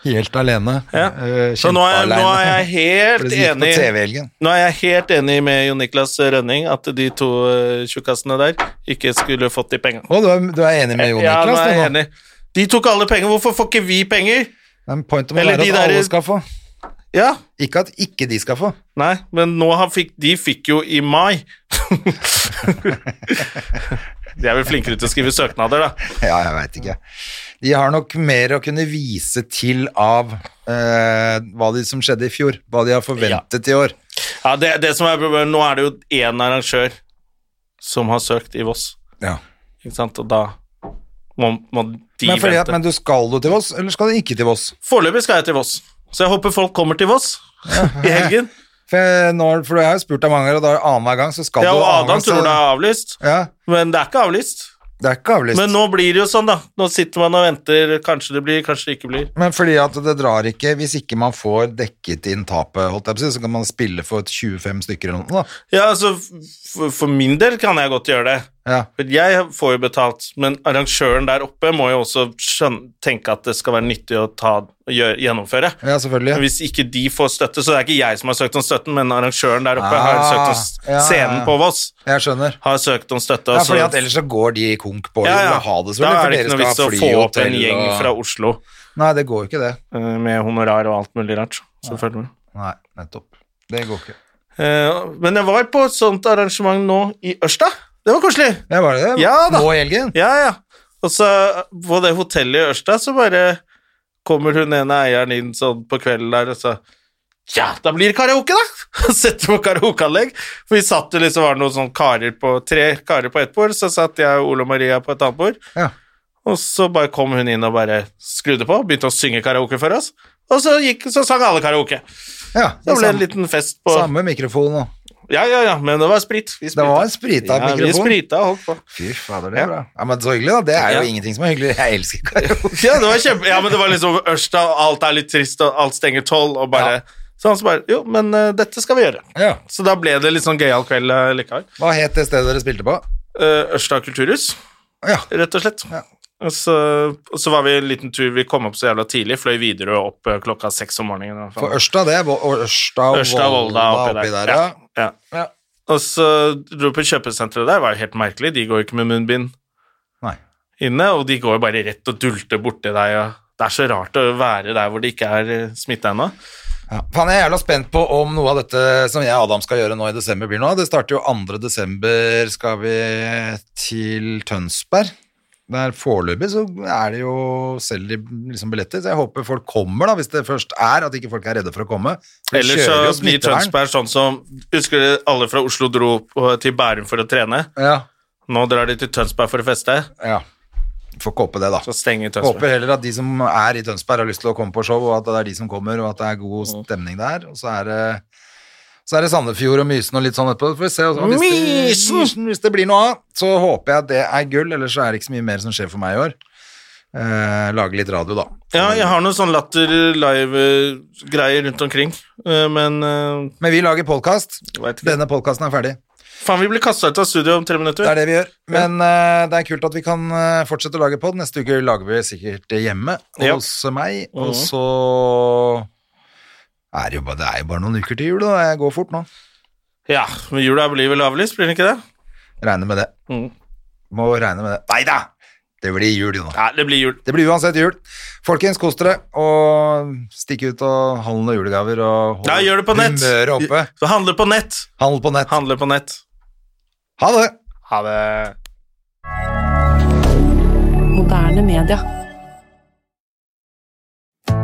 Helt alene.
Ja.
Eh,
Så nå er, nå er jeg
For
helt
det gikk
enig
på TV-helgen.
Nå er jeg helt enig med Jon Niklas Rønning at de to eh, tjukkassene der ikke skulle fått de pengene.
Å, du er, du er enig med Jon
Ja, nå
Niklas?
er jeg
du, nå?
enig. De tok alle penger, hvorfor får ikke vi penger?
Det er en point om å
Eller
være
de
at alle
der-
skal få.
Ja,
Ikke at ikke de skal få.
nei, men nå har fikk, de fikk jo i mai. de er vel flinkere til å skrive søknader, da.
Ja, jeg veit ikke. De har nok mer å kunne vise til av eh, hva de som skjedde i fjor. Hva de har forventet i år.
Ja, det, det som er problemet, Nå er det jo én arrangør som har søkt i Voss,
Ja.
ikke sant, og da må, må de
Men, fordi at,
vente.
men du skal jo til Voss, eller skal du ikke til Voss?
Foreløpig skal jeg til Voss, så jeg håper folk kommer til Voss i helgen.
For, jeg- når, for jeg har jo spurt deg mange ganger, og da er det annenhver gang så skal
Ja,
du
og
og annen
Adam
gang, så-
tror det er avlyst,
Ja,
men det er ikke avlyst.
det er ikke avlyst.
Men nå blir det jo sånn, da. Nå sitter man og venter. Kanskje det blir, kanskje det ikke blir.
Men fordi at det drar ikke Hvis ikke man får dekket inn tapet, holdt jeg på å si, så kan man spille for 25 stykker eller noe. da.
Ja, altså, for, for min del kan jeg godt gjøre det.
Ja.
For jeg får jo betalt, men arrangøren der oppe må jo også skjønne, tenke at det skal være nyttig å ta, å gjø- gjennomføre.
ja, selvfølgelig.
Hvis ikke de får støtte, så det er ikke jeg som har søkt om støtten, men arrangøren der oppe har
Ah,
søkt om s-
ja, ja, ja.
Scenen på Voss
Jeg skjønner.
har søkt om støtte.
Ja,
og så-
fordi at Ellers så går de konk på det.
Ja, ja.
og Ha
Da
det, selvfølgelig,
er
for
det ikke
dere
noe vits å
skal ha
få
fly,
opp en
hotell
gjeng
og-
fra Oslo.
Nei, det går jo ikke,
Eh,
det.
med honorar og alt mulig rart. selvfølgelig.
Nei, nettopp. Det går ikke.
Eh, Men jeg var på et sånt arrangement nå i Ørsta. Det var koselig.
Ja, var det det?
Ja, da.
Nå i helgen?
Ja, ja. Og så eh, på det hotellet i Ørsta så bare kommer hun ene eieren inn sånn på kvelden der og så Ja, da blir det karaoke, da! Og setter på karaokeanlegg. For vi satt jo liksom, var det noen sånn karer på tre karer på ett bord, så satt jeg og Ole og Maria på et annet bord.
Ja.
Og så bare kom hun inn og bare skrudde på, begynte å synge karaoke for oss. Og så, gikk, så sang alle karaoke.
ja
Så ble det en
samme,
liten fest på
samme mikrofon nå.
Ja, ja, ja, men det var sprit. Vi
Det var en sprita
ja, vi
mikrofon.
sprita og holdt på.
Fy fader, det er bra. Ja, men Så hyggelig, da. Det er jo
Ja.
ingenting som er hyggelig. Jeg elsker karaoke.
Ja, det var kjempe... Ja, men det var liksom Ørsta, og alt er litt trist, og alt stenger tolv, og bare Så han så bare Jo, men eh, dette skal vi gjøre.
Ja.
Så da ble det litt sånn gøyal kveld eh, likevel.
Hva het det stedet dere spilte på?
Eh, Ørsta kulturhus,
Ja.
rett og slett.
Ja.
Og så, og så var vi en liten tur, vi kom opp så jævla tidlig, fløy videre opp eh, klokka seks om morgenen. eller hva faen.
For Ørsta, det er Vo- og Ørsta og
Ørsta og Volda oppi der.
ja.
Ja.
Ja.
Og så dro vi på kjøpesenteret der, det var jo helt merkelig, de går jo ikke med munnbind
Nei.
inne, og de går jo bare rett og dulter borti deg, og det er så rart å være der hvor det ikke er eh, smitte ennå.
Ja. Faen, jeg er jævla spent på om noe av dette som jeg og Adam skal gjøre nå i desember, blir noe av. Det starter jo 2. desember, skal vi til Tønsberg. Der foreløpig så er det jo selger de liksom billetter, så jeg håper folk kommer, da, hvis det først er at ikke folk er redde for å komme. For de
Ellers
kjører jo
så blir
smittevern.
Tønsberg sånn som Husker du alle fra Oslo dro på- til Bærum for å trene?
Ja,
Nå drar de til Tønsberg for å feste,
ja. Får ikke håpe det, da.
så stenger Tønsberg.
Håper heller at de som er i Tønsberg har lyst til å komme på show, og at det er de som kommer, og at det er god stemning der. Og så er det, så er det Sandefjord og Mysen og litt sånn etterpå. Så Får vi se. Og så- Hvis det,
Mysen!
Mysen, Hvis det blir noe av, så håper jeg at det er gull, ellers så er det ikke så mye mer som skjer for meg i år. Eh, lage litt radio, da.
Ja, jeg har noen sånn latter live-greier rundt omkring, eh, men eh,
Men vi lager podkast.
jeg vet ikke.
Denne podkasten er ferdig.
Faen, vi blir kasta ut av studio om tre
Det er
minutter.
det vi gjør. Men eh, det er kult at vi kan eh, fortsette å lage pod. Neste uke lager vi sikkert det hjemme
Ja.
hos meg,
Mhm.
og så er det, jo bare, det er jo bare noen uker til jul, og det går fort nå.
Ja, men jula blir vel avlyst, blir den ikke det?
Regner med det.
Mm.
Må regne med det. Nei da! Det blir jul, Jonas.
Nei, det blir jul.
Det blir uansett jul. Folkens, kos dere, og stikk ut og handle noen julegaver. Og
Ja, gjør det på nett.
humøret oppe.
Så handle på nett.
Handel på nett.
Handle på nett.
Ha det!
Ha det.
Moderne media.